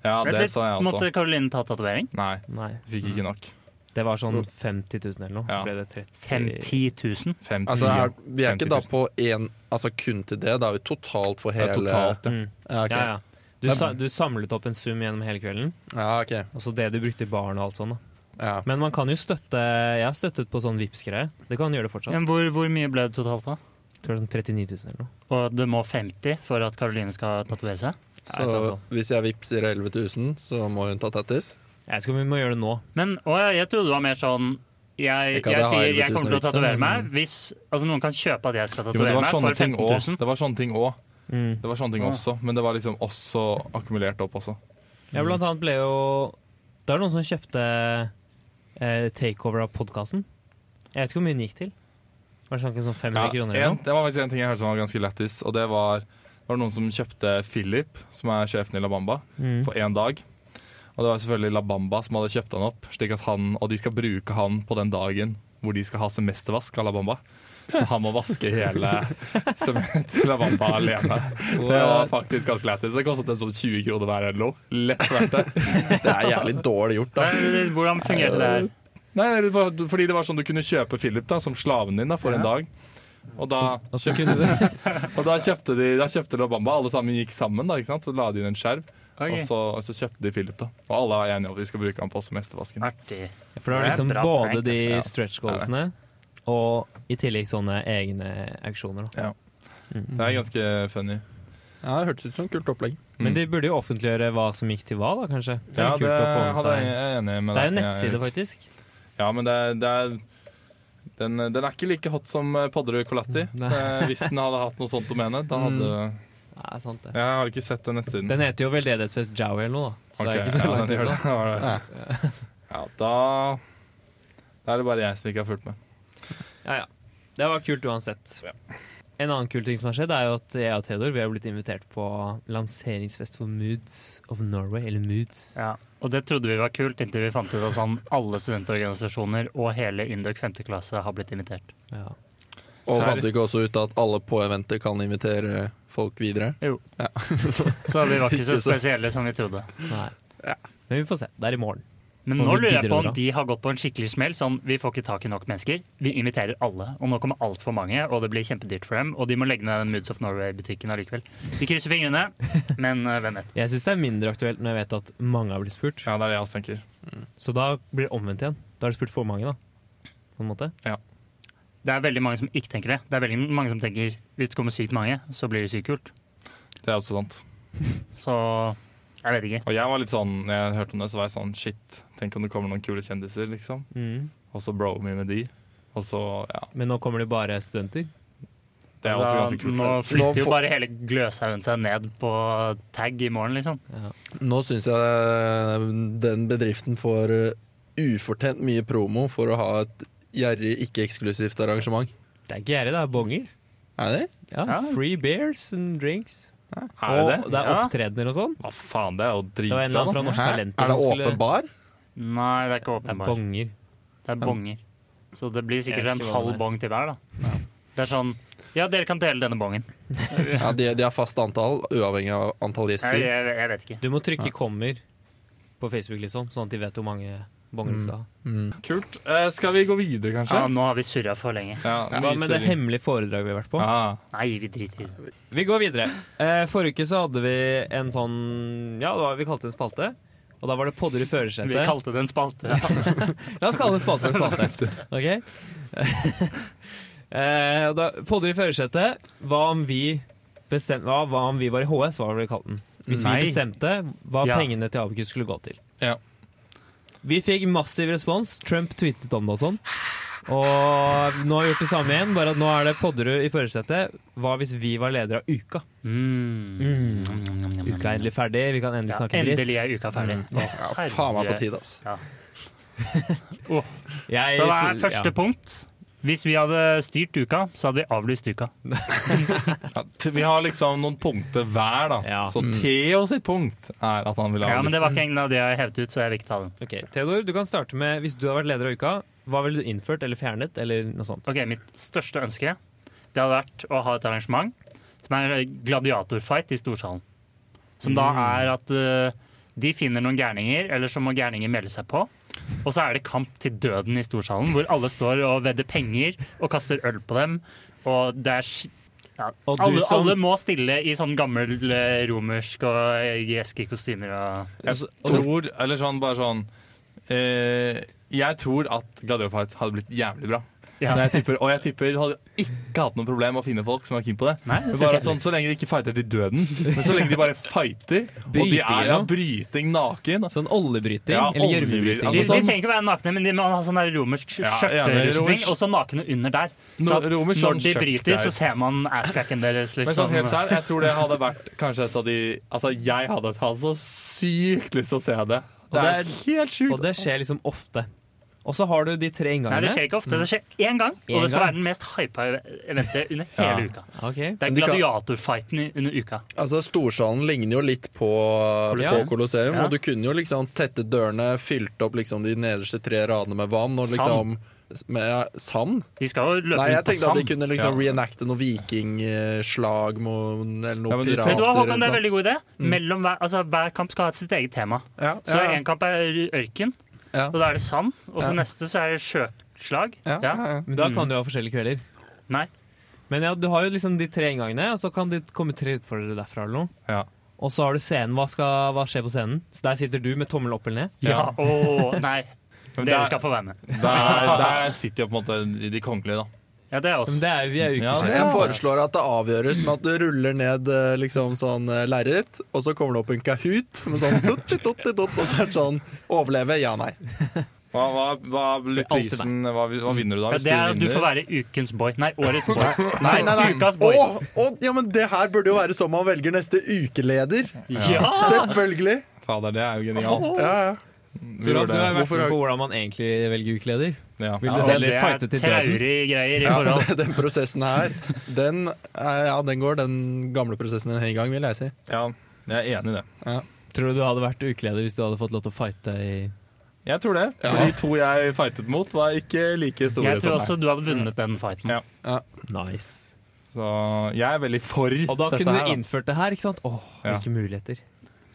[SPEAKER 1] Ja, det sa jeg også.
[SPEAKER 3] Måtte Karoline ta tatovering?
[SPEAKER 1] Nei,
[SPEAKER 2] Nei.
[SPEAKER 1] fikk ikke nok.
[SPEAKER 2] Det var sånn 50 000 eller noe.
[SPEAKER 1] Ja.
[SPEAKER 2] Så ble det 30
[SPEAKER 3] 50 000?
[SPEAKER 1] 50
[SPEAKER 4] Altså, er, vi er ikke da
[SPEAKER 1] 50 000.
[SPEAKER 4] på én Altså kun til det. Da er vi totalt for
[SPEAKER 1] Ja,
[SPEAKER 4] hele
[SPEAKER 1] totalt, ja.
[SPEAKER 2] Mm.
[SPEAKER 4] Ja, ok.
[SPEAKER 2] Ja, ja. Du,
[SPEAKER 1] Men-
[SPEAKER 2] sa, du samlet opp en sum gjennom hele kvelden,
[SPEAKER 4] Ja, ok.
[SPEAKER 2] og så det du brukte i baren og alt sånn. da.
[SPEAKER 4] Ja.
[SPEAKER 2] Men man kan jo støtte Jeg har støttet på sånn Vipps-greie. Det kan man gjøre det fortsatt.
[SPEAKER 3] Men hvor, hvor mye ble det totalt, da?
[SPEAKER 2] Jeg tror det er sånn 39 000 eller noe.
[SPEAKER 3] Og det må 50 for at Karoline skal tatovere seg?
[SPEAKER 2] Ja, et eller annet
[SPEAKER 4] Så
[SPEAKER 2] sånt.
[SPEAKER 4] hvis jeg vippser 11 000, så må hun ta tattis?
[SPEAKER 2] Jeg vet ikke om vi må gjøre det nå.
[SPEAKER 3] Men å, ja, jeg trodde det var mer sånn jeg,
[SPEAKER 4] Ikke at
[SPEAKER 3] jeg,
[SPEAKER 4] jeg har
[SPEAKER 3] sier jeg
[SPEAKER 4] 11 000
[SPEAKER 3] kommer til å
[SPEAKER 4] å vipse,
[SPEAKER 3] tatovere
[SPEAKER 4] men-
[SPEAKER 3] meg hvis altså, noen kan kjøpe at jeg skal
[SPEAKER 1] Jo, men det
[SPEAKER 3] tatovere
[SPEAKER 1] var
[SPEAKER 3] meg
[SPEAKER 1] sånne
[SPEAKER 3] for
[SPEAKER 1] ting
[SPEAKER 3] 15
[SPEAKER 1] også.
[SPEAKER 3] 000.
[SPEAKER 1] Det var sånne ting også.
[SPEAKER 2] Mm.
[SPEAKER 1] Det var sånne ting
[SPEAKER 3] Ah.
[SPEAKER 1] også, men det var liksom også akkumulert opp også.
[SPEAKER 2] Ja, blant annet ble jo Det er noen som kjøpte eh, takeover av podkasten. Jeg vet ikke hvor mye den gikk til. Var det sånn 500 kroner eller
[SPEAKER 1] en,
[SPEAKER 2] noe?
[SPEAKER 1] det var faktisk en ting jeg hørte som var ganske lættis, og det var, det var noen som kjøpte Philip, som er sjefen i La Bamba,
[SPEAKER 2] Mm.
[SPEAKER 1] for én dag. Og det var selvfølgelig La Bamba som hadde kjøpt han opp, slik at han, og de skal bruke han på den dagen hvor de skal ha semestervask av La Bamba. Så han må vaske hele semesteret til La Bamba alene. Det var faktisk ganske lættis. Det kostet dem sånn 20 kroner hver eller noe. Lett verdt det.
[SPEAKER 4] Det er jævlig dårlig gjort, da.
[SPEAKER 3] Nei, Hvordan fungerte det her?
[SPEAKER 1] Nei, det var, fordi det var sånn du kunne kjøpe Philip da, som slaven din da, for en dag. Og da,
[SPEAKER 2] Og så Altså, kunne du
[SPEAKER 1] og da kjøpte de da kjøpte La Bamba. Alle sammen gikk sammen, da, ikke sant? så la de inn en skjerv.
[SPEAKER 3] Ok.
[SPEAKER 1] Og, så, og så kjøpte de Philip, da. Og alle var enige om at vi skal bruke han på semestervasken.
[SPEAKER 3] Artig.
[SPEAKER 2] For det var
[SPEAKER 3] Det er
[SPEAKER 2] liksom
[SPEAKER 3] bra
[SPEAKER 2] både
[SPEAKER 3] prank,
[SPEAKER 2] de
[SPEAKER 1] altså. Ja.
[SPEAKER 2] stretch goalsene og i tillegg sånne egne auksjoner. Da.
[SPEAKER 1] Det er ganske funny.
[SPEAKER 4] Ja, det hørtes ut som et kult opplegg.
[SPEAKER 2] Men de burde jo offentliggjøre hva som gikk til hva, da, kanskje. Det er jo
[SPEAKER 1] Mm. Ja, det
[SPEAKER 2] kult å få med
[SPEAKER 1] hadde jeg,
[SPEAKER 2] seg.
[SPEAKER 1] jeg er enig med
[SPEAKER 2] Det er jo en
[SPEAKER 1] deg.
[SPEAKER 2] nettside, faktisk.
[SPEAKER 1] Ja, men det, er- det er den, den er ikke like hot som eh, Podderud Colatti.
[SPEAKER 2] Mm, Nei. Mm.
[SPEAKER 1] Eh, Hvis den hadde hatt noe sånt domene. Da hadde,
[SPEAKER 2] Ja, sant det.
[SPEAKER 1] jeg har ikke sett den nettsiden.
[SPEAKER 2] Den heter jo Veldedighetsfest Jowie eller noe, da. Så det er
[SPEAKER 1] Ok,
[SPEAKER 2] ikke så
[SPEAKER 1] ja,
[SPEAKER 2] langt
[SPEAKER 1] den gjør
[SPEAKER 2] unna.
[SPEAKER 1] det. Ja, ja, da Da er det bare jeg som ikke har fulgt med.
[SPEAKER 2] Ja, ja. Det var kult uansett. En annen kul ting som har skjedd, er jo at jeg og Theodor vi har blitt invitert på lanseringsfest for Moods of Norway, eller Moods.
[SPEAKER 3] Ja. Og det trodde vi var kult, inntil vi fant ut at sånn alle studentorganisasjoner og hele Indøk 5. klasse har blitt invitert.
[SPEAKER 2] Ja.
[SPEAKER 4] Og
[SPEAKER 1] Serr.
[SPEAKER 4] fant du ikke også ut at alle på eventet kan invitere folk videre?
[SPEAKER 3] Jo.
[SPEAKER 4] Ja.
[SPEAKER 3] Så vi var ikke så
[SPEAKER 4] Ikke så-
[SPEAKER 3] spesielle som vi trodde.
[SPEAKER 2] Nei. Men vi får se. Det er i morgen.
[SPEAKER 3] Men
[SPEAKER 2] Og
[SPEAKER 3] nå
[SPEAKER 2] vi
[SPEAKER 3] lurer jeg
[SPEAKER 2] gidder
[SPEAKER 3] på
[SPEAKER 2] å
[SPEAKER 3] om
[SPEAKER 2] dra.
[SPEAKER 3] de har gått på en skikkelig smell. Sånn, vi får ikke tak i nok mennesker. Vi inviterer alle. Og nå kommer altfor mange, og det blir kjempedyrt for dem. Og de må legge ned den Moods of Norway-butikken allikevel. Vi krysser fingrene, men eh, hvem vet.
[SPEAKER 2] Jeg syns det er mindre aktuelt når jeg vet at mange har blitt spurt.
[SPEAKER 1] Ja, det er det jeg også tenker.
[SPEAKER 2] Så da blir det omvendt igjen. Da har du spurt for mange, da. På en måte.
[SPEAKER 3] Det er veldig mange som ikke tenker det. Det er veldig mange som tenker hvis det kommer sykt mange, så blir det sykt kult.
[SPEAKER 1] Det er også sant.
[SPEAKER 3] Så jeg vet ikke.
[SPEAKER 1] Og jeg var litt sånn, når jeg hørte om det, så var jeg sånn shit, tenk om det kommer noen kule kjendiser, liksom.
[SPEAKER 2] Mm.
[SPEAKER 1] Og så bro me med de. Og så, ja.
[SPEAKER 2] Men nå kommer det bare studenter.
[SPEAKER 1] Det er også ganske kult.
[SPEAKER 3] nå
[SPEAKER 4] Nå
[SPEAKER 3] flytter jo
[SPEAKER 4] får-
[SPEAKER 3] bare hele Gløshaugen seg ned på tag i morgen, liksom.
[SPEAKER 4] Nå syns jeg eh, den bedriften får eh, ufortjent mye promo for å ha et gjerrig, ikke-eksklusivt arrangement.
[SPEAKER 2] Det er ikke gjerrig, det er bonger.
[SPEAKER 4] Er det det?
[SPEAKER 2] Ja,
[SPEAKER 3] Ja.
[SPEAKER 2] Free beers and drinks.
[SPEAKER 1] Er det
[SPEAKER 2] Og
[SPEAKER 1] det?
[SPEAKER 2] det er
[SPEAKER 3] Ja.
[SPEAKER 2] opptredener og sånn.
[SPEAKER 1] Hva faen, det er jo
[SPEAKER 2] Det var en eller
[SPEAKER 1] dritbra.
[SPEAKER 2] annen fra
[SPEAKER 1] da.
[SPEAKER 2] Norsk
[SPEAKER 4] Hæ?
[SPEAKER 2] Talenter
[SPEAKER 4] Er det
[SPEAKER 2] som skulle-
[SPEAKER 4] åpen bar?
[SPEAKER 3] Nei, det er ikke
[SPEAKER 2] Det er
[SPEAKER 3] åpenbart.
[SPEAKER 2] bonger.
[SPEAKER 3] Det er bonger. Så det blir sikkert
[SPEAKER 2] Jeg vet
[SPEAKER 3] en
[SPEAKER 2] ikke hva det
[SPEAKER 3] halv
[SPEAKER 2] er.
[SPEAKER 3] bong til hver, da. Det er sånn Ja, dere kan dele denne bongen.
[SPEAKER 4] Ja, de, de har fast antall, uavhengig av antall
[SPEAKER 3] Jeg, jeg,
[SPEAKER 4] gjester.
[SPEAKER 3] jeg vet ikke.
[SPEAKER 2] Du må trykke 'kommer' på Facebook, liksom, sånn at de vet hvor mange bonger de skal ha.
[SPEAKER 1] Kult. Eh, skal vi gå videre,
[SPEAKER 3] Ja,
[SPEAKER 1] kanskje?
[SPEAKER 3] nå har vi surra for lenge.
[SPEAKER 1] Ja,
[SPEAKER 2] Hva med det hemmelige foredraget vi har vært på?
[SPEAKER 1] Ah,
[SPEAKER 3] Nei, vi driter i det.
[SPEAKER 2] Vi går videre. Eh, forrige uke så hadde vi en sånn Ja, det var, vi kalte det en spalte. Og da var det podder
[SPEAKER 3] Vi
[SPEAKER 2] i førersetet.
[SPEAKER 3] kalte det en spalte.
[SPEAKER 2] La oss kalle det en spalte for en spalte. Ok? eh, og da, podder i førersetet. Hva om vi bestemte hva, hva om vi var i HS, hva var det vi kalte den. Hvis
[SPEAKER 3] Nei.
[SPEAKER 2] vi bestemte hva
[SPEAKER 3] Ja.
[SPEAKER 2] pengene til Abekus skulle gå til.
[SPEAKER 1] Ja.
[SPEAKER 2] Vi fikk massiv respons. Trump tweetet om det og sånn. Og nå har vi gjort det samme igjen, bare at nå er det Podderud i førersetet. Hva hvis vi var leder av Uka?
[SPEAKER 3] Mm.
[SPEAKER 2] Mm.
[SPEAKER 3] Nom, nom, nom, nom,
[SPEAKER 2] Uka er endelig ferdig, vi kan endelig
[SPEAKER 3] ja,
[SPEAKER 2] snakke dritt.
[SPEAKER 3] Endelig er uka ferdig.
[SPEAKER 4] Mm. Ja, faen meg på tide, ass.
[SPEAKER 2] Jeg,
[SPEAKER 3] Så hva er
[SPEAKER 2] full-
[SPEAKER 3] første punkt? Hvis vi hadde styrt uka, så hadde vi avlyst uka.
[SPEAKER 1] Ja, t- vi har liksom noen punkter hver, da.
[SPEAKER 2] Ja.
[SPEAKER 1] Så Theo sitt punkt er at han vil ha
[SPEAKER 3] Ja, men
[SPEAKER 1] avlyst.
[SPEAKER 3] Det var ikke en av de jeg hevet ut, så jeg vil ikke ta den.
[SPEAKER 2] Ja. Ok, Theodor, du kan starte med hvis du hadde vært leder av Uka. Hva ville du innført eller fjernet? eller noe sånt?
[SPEAKER 3] Ok, Mitt største ønske det hadde vært å ha et arrangement som er en gladiatorfight i Storsalen. Som da er at eh, de finner noen gærninger, eller så må gærninger melde seg på. Og så er det kamp til døden i Storsalen, hvor alle står og vedder penger og kaster øl på dem. Og det er sk- ja,
[SPEAKER 2] Og du
[SPEAKER 3] alle,
[SPEAKER 2] som-
[SPEAKER 3] alle må stille i sånn gammel eh, romersk og eh, greske kostymer og
[SPEAKER 1] Jeg tror, eller sånn, bare sånn eh, Jeg tror at Gladio Fight hadde blitt jævlig bra.
[SPEAKER 3] Ja.
[SPEAKER 1] Men Jeg tipper, og jeg tipper hadde ikke hatt noe problem med å finne folk som var keen på det.
[SPEAKER 3] Nei, det
[SPEAKER 1] Men
[SPEAKER 3] tror ikke
[SPEAKER 1] bare at sånn, Så lenge de ikke fighter til døden, men så lenge de bare fighter, og de
[SPEAKER 2] Bryting,
[SPEAKER 1] er ja,
[SPEAKER 2] ja.
[SPEAKER 1] bryting naken altså.
[SPEAKER 2] Sånn oljebryting?
[SPEAKER 1] Ja,
[SPEAKER 2] eller
[SPEAKER 1] oljebryting.
[SPEAKER 2] gjørmebryting?
[SPEAKER 3] De,
[SPEAKER 1] Altså,
[SPEAKER 3] de
[SPEAKER 1] sånn-
[SPEAKER 3] trenger ikke være nakne, men de må ha sånn der romersk
[SPEAKER 1] Ja, enig,
[SPEAKER 3] skjørterustning,
[SPEAKER 1] romersk-
[SPEAKER 3] og så nakne under der. Så
[SPEAKER 1] No-
[SPEAKER 3] at
[SPEAKER 1] romersk
[SPEAKER 3] når
[SPEAKER 1] sånn
[SPEAKER 3] de
[SPEAKER 1] skjørt
[SPEAKER 3] bryter,
[SPEAKER 1] der.
[SPEAKER 3] så ser man asscracken deres.
[SPEAKER 1] Men
[SPEAKER 3] Liksom.
[SPEAKER 1] sånn helt sær, jeg tror det hadde vært kanskje et av de Altså, jeg hadde hatt så sykt lyst til å se det.
[SPEAKER 2] Og
[SPEAKER 1] Det
[SPEAKER 2] det
[SPEAKER 1] er helt
[SPEAKER 2] Og
[SPEAKER 1] sjukt.
[SPEAKER 2] det skjer liksom ofte. Og så har du de tre
[SPEAKER 3] Nei,
[SPEAKER 2] inngangene.
[SPEAKER 3] det skjer ikke ofte. Det skjer én gang,
[SPEAKER 2] Én
[SPEAKER 3] og det skal
[SPEAKER 2] gang.
[SPEAKER 3] være den mest hypa eventet under hele
[SPEAKER 1] Ja.
[SPEAKER 3] uka.
[SPEAKER 2] Ok.
[SPEAKER 3] Det
[SPEAKER 4] Men
[SPEAKER 3] er
[SPEAKER 4] de kan-
[SPEAKER 3] gladiatorfighten i- under uka.
[SPEAKER 4] Altså, Storsalen ligner jo litt på Colosseum,
[SPEAKER 2] Colosseum.
[SPEAKER 4] på Colosseum
[SPEAKER 3] Ja.
[SPEAKER 4] og du kunne jo liksom tette dørene, fylt opp liksom de nederste tre radene med vann og liksom med ja, sand?
[SPEAKER 3] De skal jo løpe
[SPEAKER 4] Nei, jeg
[SPEAKER 3] rundt på
[SPEAKER 4] tenkte at de
[SPEAKER 3] sand.
[SPEAKER 4] kunne liksom
[SPEAKER 1] Ja.
[SPEAKER 4] reenacte noe vikingslag mot- eller
[SPEAKER 1] Ja,
[SPEAKER 4] noe
[SPEAKER 1] men du-
[SPEAKER 4] pirater.
[SPEAKER 3] Vet du hva,
[SPEAKER 4] eller
[SPEAKER 3] Håkon, det er
[SPEAKER 4] noe.
[SPEAKER 3] en veldig god idé. Mellom hver, altså, hver kamp skal ha sitt eget tema.
[SPEAKER 4] Mm. Ja,
[SPEAKER 3] Så
[SPEAKER 4] ja,
[SPEAKER 3] en kamp er ørken,
[SPEAKER 4] ja,
[SPEAKER 3] og da er det sand. Og så
[SPEAKER 4] Ja.
[SPEAKER 3] neste så er det sjøslag.
[SPEAKER 4] ja, ja, ja.
[SPEAKER 2] Men da kan du ha forskjellige kvelder.
[SPEAKER 3] Nei.
[SPEAKER 2] Men ja, du har jo liksom de tre inngangene, og så kan det komme tre utfordrere derfra eller noe.
[SPEAKER 1] Ja.
[SPEAKER 2] Og så har du scenen. Hva, skal, hva skjer på scenen? Så der sitter du med tommel opp eller ned.
[SPEAKER 3] Ja, åh, nei.
[SPEAKER 1] Men
[SPEAKER 3] Dere
[SPEAKER 1] der-
[SPEAKER 3] skal få være med.
[SPEAKER 1] Der, der sitter jo på en måte de kongelige, da.
[SPEAKER 3] Ja, det er oss.
[SPEAKER 2] Men det er jo, vi er jo ikke
[SPEAKER 1] Ja,
[SPEAKER 2] skjønt.
[SPEAKER 4] Jeg foreslår at det avgjøres med at du ruller ned eh, liksom sånn eh, lerret, og så kommer det opp en Kahoot med sånn dot, dot, dot, dot, og så er det sånn Overleve? Ja, nei.
[SPEAKER 1] Hva, hva, hva blir
[SPEAKER 2] Alltid nei.
[SPEAKER 1] prisen? Hva, hva vinner du da?
[SPEAKER 3] Ja,
[SPEAKER 1] Hvis
[SPEAKER 3] det er at
[SPEAKER 1] du
[SPEAKER 3] du får
[SPEAKER 1] vinner?
[SPEAKER 3] være ukens boy. Nei, årets boy.
[SPEAKER 4] Nei, nei, nei.
[SPEAKER 3] Ukas boy.
[SPEAKER 4] Å, å, ja, men det her burde jo være sånn man velger neste ukeleder.
[SPEAKER 3] Ja!
[SPEAKER 4] Selvfølgelig.
[SPEAKER 1] Fader, det er jo genialt.
[SPEAKER 4] Ja, ja.
[SPEAKER 1] Vi
[SPEAKER 2] Toralf,
[SPEAKER 1] gjorde
[SPEAKER 2] du har
[SPEAKER 1] det.
[SPEAKER 2] vært
[SPEAKER 4] Hvorfor
[SPEAKER 2] med
[SPEAKER 4] har-
[SPEAKER 2] på hvordan man egentlig velger ukeleder.
[SPEAKER 1] Ja.
[SPEAKER 2] Vil
[SPEAKER 3] Ja,
[SPEAKER 2] du
[SPEAKER 3] og
[SPEAKER 2] heller fighte til døden?
[SPEAKER 3] traurige greier i
[SPEAKER 4] Ja,
[SPEAKER 3] forhold.
[SPEAKER 4] den, den prosessen her, den, eh, ja, den går den gamle prosessen en høy gang, vil jeg si.
[SPEAKER 1] Ja, jeg er enig i det.
[SPEAKER 2] Tror du du hadde vært ukeleder hvis du hadde fått lov til å fighte i
[SPEAKER 1] Jeg tror det, for de to jeg fightet mot, var ikke like store
[SPEAKER 3] Jeg tror
[SPEAKER 1] som meg.
[SPEAKER 3] også du hadde vunnet den fighten.
[SPEAKER 1] Ja.
[SPEAKER 2] Nice.
[SPEAKER 1] Så jeg er veldig for
[SPEAKER 2] Og da
[SPEAKER 1] dette
[SPEAKER 2] kunne
[SPEAKER 1] her,
[SPEAKER 2] du innført det her, ikke sant? Åh,
[SPEAKER 1] Ja.
[SPEAKER 2] hvilke muligheter.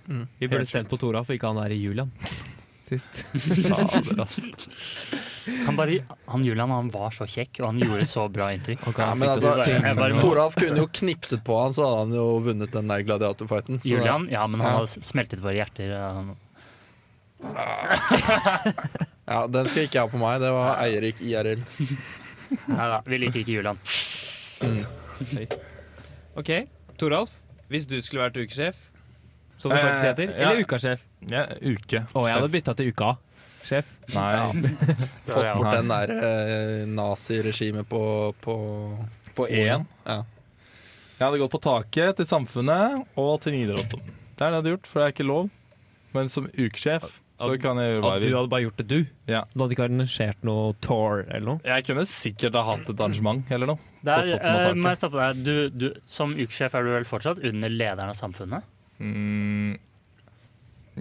[SPEAKER 2] Vi burde
[SPEAKER 1] Helt
[SPEAKER 2] stemt på Toralf, ikke han der i Julian. Sist.
[SPEAKER 1] Fader, ass.
[SPEAKER 3] Han, bare, han Julian han var så kjekk, og han gjorde så bra inntrykk.
[SPEAKER 2] Han kan-
[SPEAKER 4] Ja, men
[SPEAKER 2] fikk det
[SPEAKER 4] altså,
[SPEAKER 2] til.
[SPEAKER 3] Jeg bare,
[SPEAKER 4] Toralf kunne jo knipset på han, så hadde han jo vunnet den der gladiatorfighten. Så
[SPEAKER 3] Julian, ja, men
[SPEAKER 4] Ja.
[SPEAKER 3] han har smeltet våre hjerter. og han-
[SPEAKER 4] Ja, den skal ikke jeg ha på meg. Det var Eirik IRL.
[SPEAKER 3] Neida, vi liker ikke Julian.
[SPEAKER 2] Ok, Toralf, hvis du skulle vært ukesjef, som det faktisk
[SPEAKER 1] Eh,
[SPEAKER 2] heter,
[SPEAKER 1] ja.
[SPEAKER 2] eller ukasjef
[SPEAKER 1] Ja, uke.
[SPEAKER 2] Å, jeg hadde bytta til uka. Sjef.
[SPEAKER 1] Nei,
[SPEAKER 3] Det var
[SPEAKER 4] Fått
[SPEAKER 3] jeg også.
[SPEAKER 4] bort den der eh, naziregimet på, på
[SPEAKER 1] på én.
[SPEAKER 4] Ja.
[SPEAKER 1] Jeg hadde gått på taket til samfunnet og til Nidarosdomen. Det er det jeg hadde gjort, for det er ikke lov. Men som ukesjef så
[SPEAKER 2] At-
[SPEAKER 1] kan jeg gjøre hva
[SPEAKER 2] At
[SPEAKER 1] jeg
[SPEAKER 2] du
[SPEAKER 1] vil.
[SPEAKER 2] hadde bare gjort det, du.
[SPEAKER 1] Ja.
[SPEAKER 2] Du hadde ikke arrangert noe tour eller noe.
[SPEAKER 1] Jeg kunne sikkert ha hatt et arrangement eller noe.
[SPEAKER 3] Der
[SPEAKER 1] På toppen av
[SPEAKER 3] eh, må jeg
[SPEAKER 1] taket.
[SPEAKER 3] stoppe deg. Du, du, som ukesjef er du vel fortsatt under lederen av samfunnet?
[SPEAKER 1] Mm.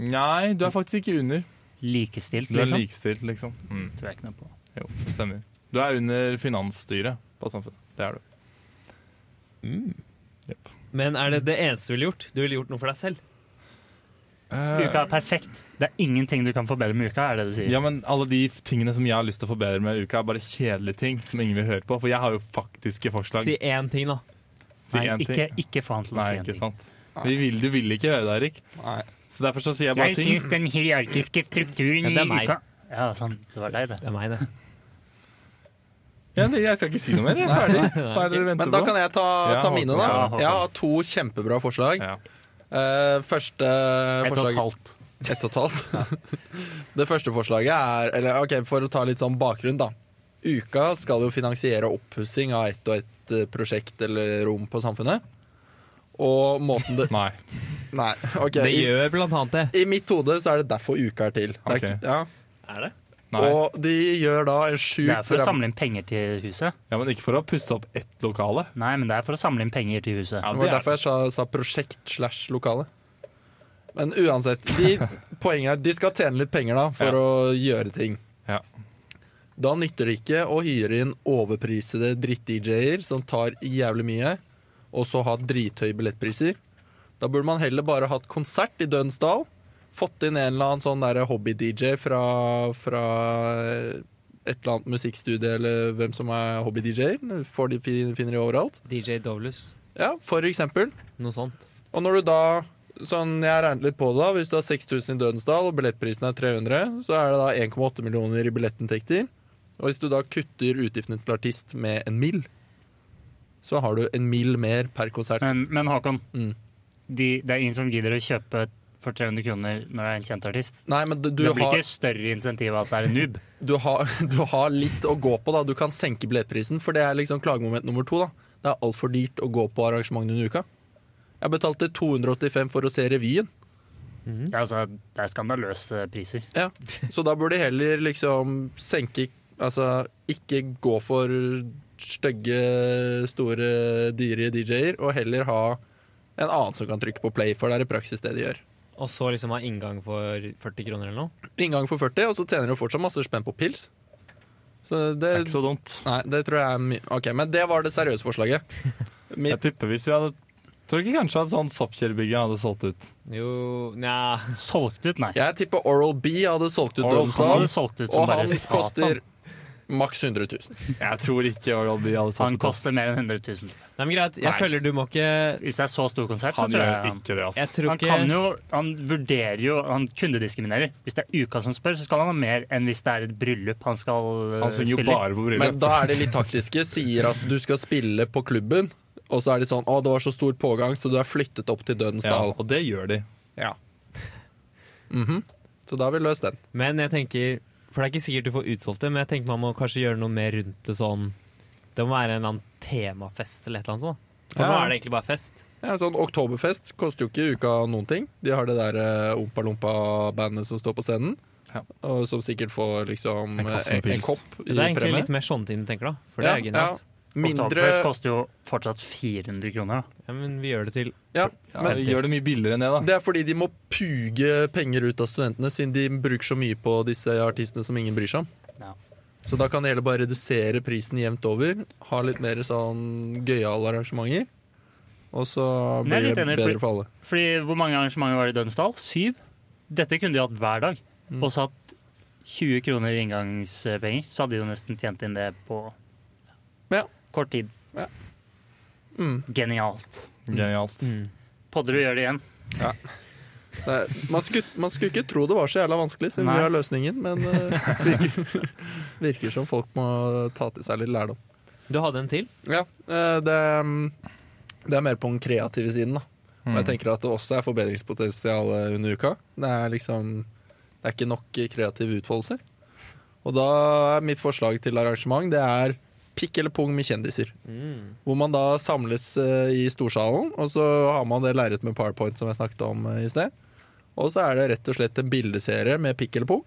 [SPEAKER 1] Nei, du er faktisk ikke under.
[SPEAKER 3] Likestilt,
[SPEAKER 1] Du er
[SPEAKER 3] liksom?
[SPEAKER 1] likestilt, liksom. Mm.
[SPEAKER 3] Tror jeg ikke noe på.
[SPEAKER 1] Jo, det stemmer. Du er under finansstyret på samfunnet. Det er du.
[SPEAKER 2] Men er det det eneste du ville gjort? Du ville gjort noe for deg selv.
[SPEAKER 1] Eh.
[SPEAKER 3] Uka er perfekt. Det er ingenting du kan forbedre med uka, er det du sier.
[SPEAKER 1] Ja, men alle de tingene som jeg har lyst til å forbedre med i uka, er bare kjedelige ting som ingen vil høre på. For jeg har jo faktiske forslag.
[SPEAKER 2] Si én ting, da.
[SPEAKER 1] Si
[SPEAKER 3] Nei,
[SPEAKER 1] en ting.
[SPEAKER 3] ikke, ikke få han til å
[SPEAKER 1] Nei,
[SPEAKER 3] si en
[SPEAKER 1] ikke
[SPEAKER 3] ting.
[SPEAKER 1] sant. Vi vil, du vil ikke høre det, Erik.
[SPEAKER 4] Nei.
[SPEAKER 1] Så derfor så sier jeg bare ting.
[SPEAKER 3] den hierarkiske strukturen
[SPEAKER 2] Ja, det er meg.
[SPEAKER 3] Ja, sånn. Det var deg, det.
[SPEAKER 2] Det er meg, det.
[SPEAKER 1] Ja, det- jeg skal ikke si noe mer. Jeg er ferdig. Hva er det dere
[SPEAKER 4] Men
[SPEAKER 1] venter
[SPEAKER 4] da
[SPEAKER 1] på?
[SPEAKER 4] kan jeg ta,
[SPEAKER 1] Ja,
[SPEAKER 4] ta mine, da.
[SPEAKER 3] Håkon. Ja, Håkon.
[SPEAKER 4] Jeg har to kjempebra forslag.
[SPEAKER 1] Ja.
[SPEAKER 4] Eh, første
[SPEAKER 3] Et og
[SPEAKER 4] forslag
[SPEAKER 3] et halvt.
[SPEAKER 4] Ett og et halvt. Det første forslaget er eller, ok, For å ta litt sånn bakgrunn, da. Uka skal jo finansiere oppussing av ett og ett eh, prosjekt eller rom på samfunnet. Og måten det
[SPEAKER 1] Nei.
[SPEAKER 4] Nei, OK.
[SPEAKER 2] Det
[SPEAKER 4] I,
[SPEAKER 2] gjør blant annet det.
[SPEAKER 4] i mitt hode så er det derfor uka er til. Det er,
[SPEAKER 1] Ok.
[SPEAKER 4] ikke- ja.
[SPEAKER 2] Er det?
[SPEAKER 1] Nei.
[SPEAKER 4] Og de gjør da
[SPEAKER 3] Det
[SPEAKER 4] en
[SPEAKER 3] er
[SPEAKER 4] sjukt
[SPEAKER 3] for å
[SPEAKER 4] ræv-
[SPEAKER 3] samle inn penger til huset.
[SPEAKER 1] Ja, men ikke for å pusse opp ett lokale.
[SPEAKER 3] Nei, men det er for å samle inn penger til huset.
[SPEAKER 1] Ja,
[SPEAKER 4] Det
[SPEAKER 1] det
[SPEAKER 4] var
[SPEAKER 1] er
[SPEAKER 4] derfor jeg sa, sa prosjekt slash lokale. Men uansett, de, poenget er de skal tjene litt penger da for
[SPEAKER 1] Ja.
[SPEAKER 4] å gjøre ting.
[SPEAKER 1] Ja.
[SPEAKER 4] Da nytter det ikke å hyre inn overprisede dritt-DJ-er som tar jævlig mye, og så ha drithøye billettpriser. Da burde man heller bare hatt konsert i Dønsdal, fått inn en eller annen sånn der hobby-DJ fra, fra eh, et eller annet musikkstudie, eller hvem som er hobby-DJ-er. Får de fin- finner de overalt.
[SPEAKER 2] DJ Dovlus.
[SPEAKER 4] Ja, for eksempel.
[SPEAKER 2] Noe sånt.
[SPEAKER 4] Og når du da Sånn, jeg regnet litt på det da Hvis du har 6000 i Dødensdal og billettprisen er 300 Så er det da 1,8 millioner i billettinntekter Og hvis du da kutter utgiftene til artist med en mil Så har du en mil mer per konsert
[SPEAKER 3] Men, men Håkon,
[SPEAKER 4] Mm.
[SPEAKER 3] de, det er ingen som gidder å kjøpe for 300 kroner når det er en kjent artist.
[SPEAKER 4] Nei, men du, du,
[SPEAKER 3] det blir
[SPEAKER 4] har,
[SPEAKER 3] ikke større insentiv av at det er en noob.
[SPEAKER 4] du, har, du har litt å gå på da Du kan senke billettprisen For det er liksom klagemoment nummer to da Det er alt for dyrt å gå på arrangement under uka Jeg betalte 285 for å se revyen
[SPEAKER 3] Ja, Altså, det er skandaløse priser.
[SPEAKER 4] Ja, så da burde de heller liksom senke Altså ikke gå for stygge, store, dyre DJ-er, og heller ha en annen som kan trykke på play, for det er i praksis det de gjør.
[SPEAKER 2] Og så liksom ha inngang for 40 kroner eller noe.
[SPEAKER 4] Inngang for 40, og så tjener du fortsatt masse spenn på pils. Så det,
[SPEAKER 1] Det er ikke så dumt.
[SPEAKER 4] Nei, det tror jeg er mye Ok, men det var det seriøse forslaget.
[SPEAKER 1] Jeg
[SPEAKER 4] Mitt,
[SPEAKER 1] tipper hvis vi hadde Tror ikke kanskje at sånn Soppkjellbygget hadde solgt ut.
[SPEAKER 2] Jo, nja
[SPEAKER 3] Solgt ut, nei.
[SPEAKER 4] jeg tipper Oral B hadde solgt ut
[SPEAKER 3] Oral B
[SPEAKER 4] Dønsdal,
[SPEAKER 3] hadde solgt ut som
[SPEAKER 4] og
[SPEAKER 3] bare
[SPEAKER 4] han
[SPEAKER 3] satan.
[SPEAKER 4] koster maks 100 000.
[SPEAKER 1] Jeg tror ikke Oral B hadde solgt
[SPEAKER 3] Han
[SPEAKER 1] ut. ass.
[SPEAKER 3] koster mer enn 100 000.
[SPEAKER 2] Nei, men greit. Jeg
[SPEAKER 3] Nei.
[SPEAKER 2] føler du må ikke
[SPEAKER 3] Hvis det er så stor konsert, så
[SPEAKER 1] Han
[SPEAKER 3] tror
[SPEAKER 1] gjør
[SPEAKER 3] jeg han
[SPEAKER 1] ikke det,
[SPEAKER 2] Jeg
[SPEAKER 1] ass.
[SPEAKER 2] tror
[SPEAKER 3] han
[SPEAKER 2] ikke
[SPEAKER 3] kan jo, han vurderer jo, han kundediskriminerer. Hvis det er uka som spør, så skal han ha mer enn hvis det er et bryllup han skal eh,
[SPEAKER 1] Han synger jo
[SPEAKER 3] spille i.
[SPEAKER 1] bare på
[SPEAKER 4] Men
[SPEAKER 1] bryllup.
[SPEAKER 4] da er de litt taktiske, sier at du skal spille på klubben, og så er de sånn 'Å, det var så stor pågang, så du er flyttet opp til
[SPEAKER 1] Ja,
[SPEAKER 4] Dødensdal'.
[SPEAKER 1] og det gjør de.
[SPEAKER 4] Ja. Mhm. Så da har vi løst den.
[SPEAKER 2] Men jeg tenker For det er ikke sikkert du får utsolgt det, men jeg tenker man må kanskje gjøre noe mer rundt det sånn Det må være en eller annen temafest eller et eller annet sånt. da. For
[SPEAKER 4] Ja.
[SPEAKER 2] nå er det egentlig bare fest.
[SPEAKER 4] Ja, sånn Oktoberfest koster jo ikke uka noen ting. De har det der eh, Ompa Lompa-bandet som står på scenen,
[SPEAKER 1] Ja.
[SPEAKER 4] og som sikkert får liksom
[SPEAKER 1] En
[SPEAKER 4] eh,
[SPEAKER 1] kasse med
[SPEAKER 4] en, en
[SPEAKER 1] pils.
[SPEAKER 4] kopp i
[SPEAKER 2] Det er egentlig
[SPEAKER 4] premie.
[SPEAKER 2] litt mer sånne ting du tenker, da. For det er genialt.
[SPEAKER 4] Mindre
[SPEAKER 3] Oktoberfest koster jo fortsatt 400 kroner. da.
[SPEAKER 2] Ja. men vi gjør det til
[SPEAKER 4] ja,
[SPEAKER 1] Ja,
[SPEAKER 4] men
[SPEAKER 1] gjør det mye billigere enn det, da.
[SPEAKER 4] Det er fordi de må puge penger ut av studentene, siden de bruker så mye på disse artistene som ingen bryr seg om.
[SPEAKER 3] Ja.
[SPEAKER 4] Så da kan det heller bare redusere prisen jevnt over, ha litt mer sånn gøyale arrangementer, og så
[SPEAKER 3] Men jeg er
[SPEAKER 4] blir det
[SPEAKER 3] litt enig,
[SPEAKER 4] bedre
[SPEAKER 3] for-
[SPEAKER 4] for alle.
[SPEAKER 3] Fordi hvor mange arrangementer var det i Dønsdal? Syv? Dette kunne de hatt hver dag.
[SPEAKER 4] Mm.
[SPEAKER 3] Og satt 20 kroner i inngangspenger, så hadde de jo nesten tjent inn det på
[SPEAKER 4] Ja.
[SPEAKER 3] kort tid.
[SPEAKER 4] Mm.
[SPEAKER 3] Genialt.
[SPEAKER 1] Genialt.
[SPEAKER 3] Mm. Podderud gjør det igjen.
[SPEAKER 4] Det er, man, skulle, man skulle ikke tro det var så jævla vanskelig, siden
[SPEAKER 3] Nei.
[SPEAKER 4] vi har løsningen, men eh, virker, virker som folk må ta til seg litt lærdom.
[SPEAKER 2] Du hadde en til?
[SPEAKER 4] Ja, eh, det, det er mer på den kreative siden, da. Og jeg tenker at det også er forbedringspotensial eh, under uka. Det er liksom Det er ikke nok kreativ utfoldelse. Og da er mitt forslag til arrangement det er pikk eller pung med kjendiser.
[SPEAKER 3] Mm.
[SPEAKER 4] Hvor man da samles eh, i storsalen, og så har man det lerret med Powerpoint som jeg snakket om eh, i sted. Og så er det rett og slett en bildeserie med pikk eller pung.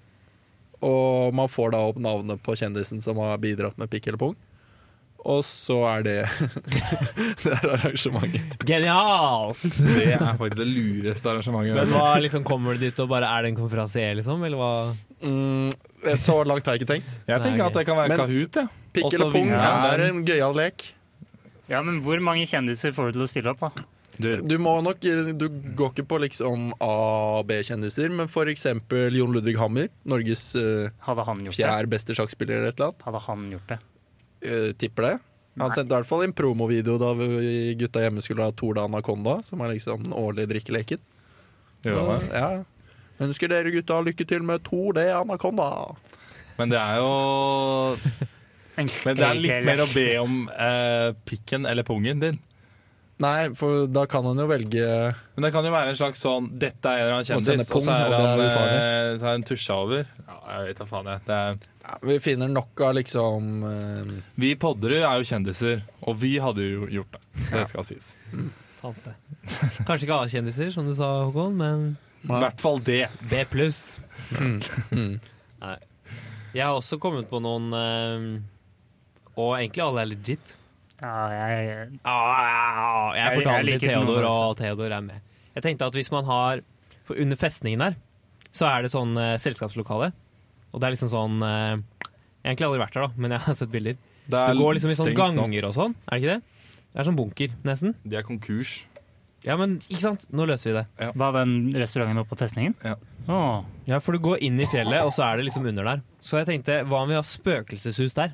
[SPEAKER 4] Og man får da opp navnet på kjendisen som har bidratt med pikk eller pung. Og så er det Det er arrangementet.
[SPEAKER 2] Genialt!
[SPEAKER 1] Det er faktisk det lureste arrangementet.
[SPEAKER 2] Men hva liksom kommer du dit og bare Er det en konferansier, liksom? Eller hva?
[SPEAKER 4] Mm, så langt har jeg ikke tenkt.
[SPEAKER 1] Jeg tenker at det kan være
[SPEAKER 4] Men-
[SPEAKER 1] Kahoot, jeg.
[SPEAKER 4] Pikk
[SPEAKER 1] Også
[SPEAKER 4] eller pung
[SPEAKER 1] vinneren.
[SPEAKER 4] er en gøyal lek.
[SPEAKER 3] Ja, men hvor mange kjendiser får du til å stille opp, da?
[SPEAKER 1] Du,
[SPEAKER 4] Du må nok, eh, du går ikke på liksom A- og B-kjendiser, men for eksempel Jon Ludvig Hammer. Norges eh,
[SPEAKER 3] Hadde han gjort det?
[SPEAKER 4] fjerde beste sjakkspiller eller et eller annet.
[SPEAKER 3] Hadde han gjort det?
[SPEAKER 4] Eh, tipper det. Han sendte i hvert fall en promovideo da vi gutta hjemme skulle ha Torda Anaconda, som er liksom den årlige drikkeleken.
[SPEAKER 1] gjør han det?
[SPEAKER 4] ja. Ønsker dere gutta lykke til med Tor D Anaconda.
[SPEAKER 1] Men det er jo
[SPEAKER 3] En
[SPEAKER 1] Men det er litt mer å
[SPEAKER 3] KKL.
[SPEAKER 1] be om eh, pikken eller pungen din.
[SPEAKER 4] Nei, for da kan han jo velge
[SPEAKER 1] Men det kan jo være en slags sånn Dette er en eller annen
[SPEAKER 4] Og sende
[SPEAKER 1] kjendis, og
[SPEAKER 4] pung,
[SPEAKER 1] så er
[SPEAKER 4] og det
[SPEAKER 1] han,
[SPEAKER 4] er
[SPEAKER 1] eh, så er han tusja over. Ja, jeg vet da faen, jeg. Det er,
[SPEAKER 4] ja, Vi finner nok av liksom eh,
[SPEAKER 1] vi i Podderud er jo kjendiser, og vi hadde jo gjort det. Det skal sies.
[SPEAKER 2] Sant det. Kanskje ikke A-kjendiser, som du sa, Håkon, men
[SPEAKER 1] I hvert fall det.
[SPEAKER 2] B pluss.
[SPEAKER 3] Mm.
[SPEAKER 2] Nei. Jeg har også kommet på noen eh, Og egentlig alle er legit.
[SPEAKER 3] Ja, jeg,
[SPEAKER 2] Ah,
[SPEAKER 3] Jeg-
[SPEAKER 2] jeg
[SPEAKER 3] jeg
[SPEAKER 2] fortalte
[SPEAKER 3] liker
[SPEAKER 2] til Theodor,
[SPEAKER 3] noen
[SPEAKER 2] og Theodor er med. Jeg tenkte at hvis man har For under festningen der, så er det sånn eh, selskapslokale. Og det er liksom sånn eh, Jeg har egentlig aldri vært der, da, men jeg har sett bilder.
[SPEAKER 1] det
[SPEAKER 2] Det går liksom i sånn
[SPEAKER 1] stengt nå.
[SPEAKER 2] ganger og sånn, er det ikke det? Det er sånn bunker, nesten.
[SPEAKER 1] De er konkurs.
[SPEAKER 2] Ja, men ikke sant? Nå løser vi det.
[SPEAKER 3] var den restauranten oppe på festningen?
[SPEAKER 1] Ja.
[SPEAKER 3] Åh,
[SPEAKER 2] Ja, for du går inn i fjellet, og så er det liksom under der. Så jeg tenkte, hva om vi har spøkelseshus der?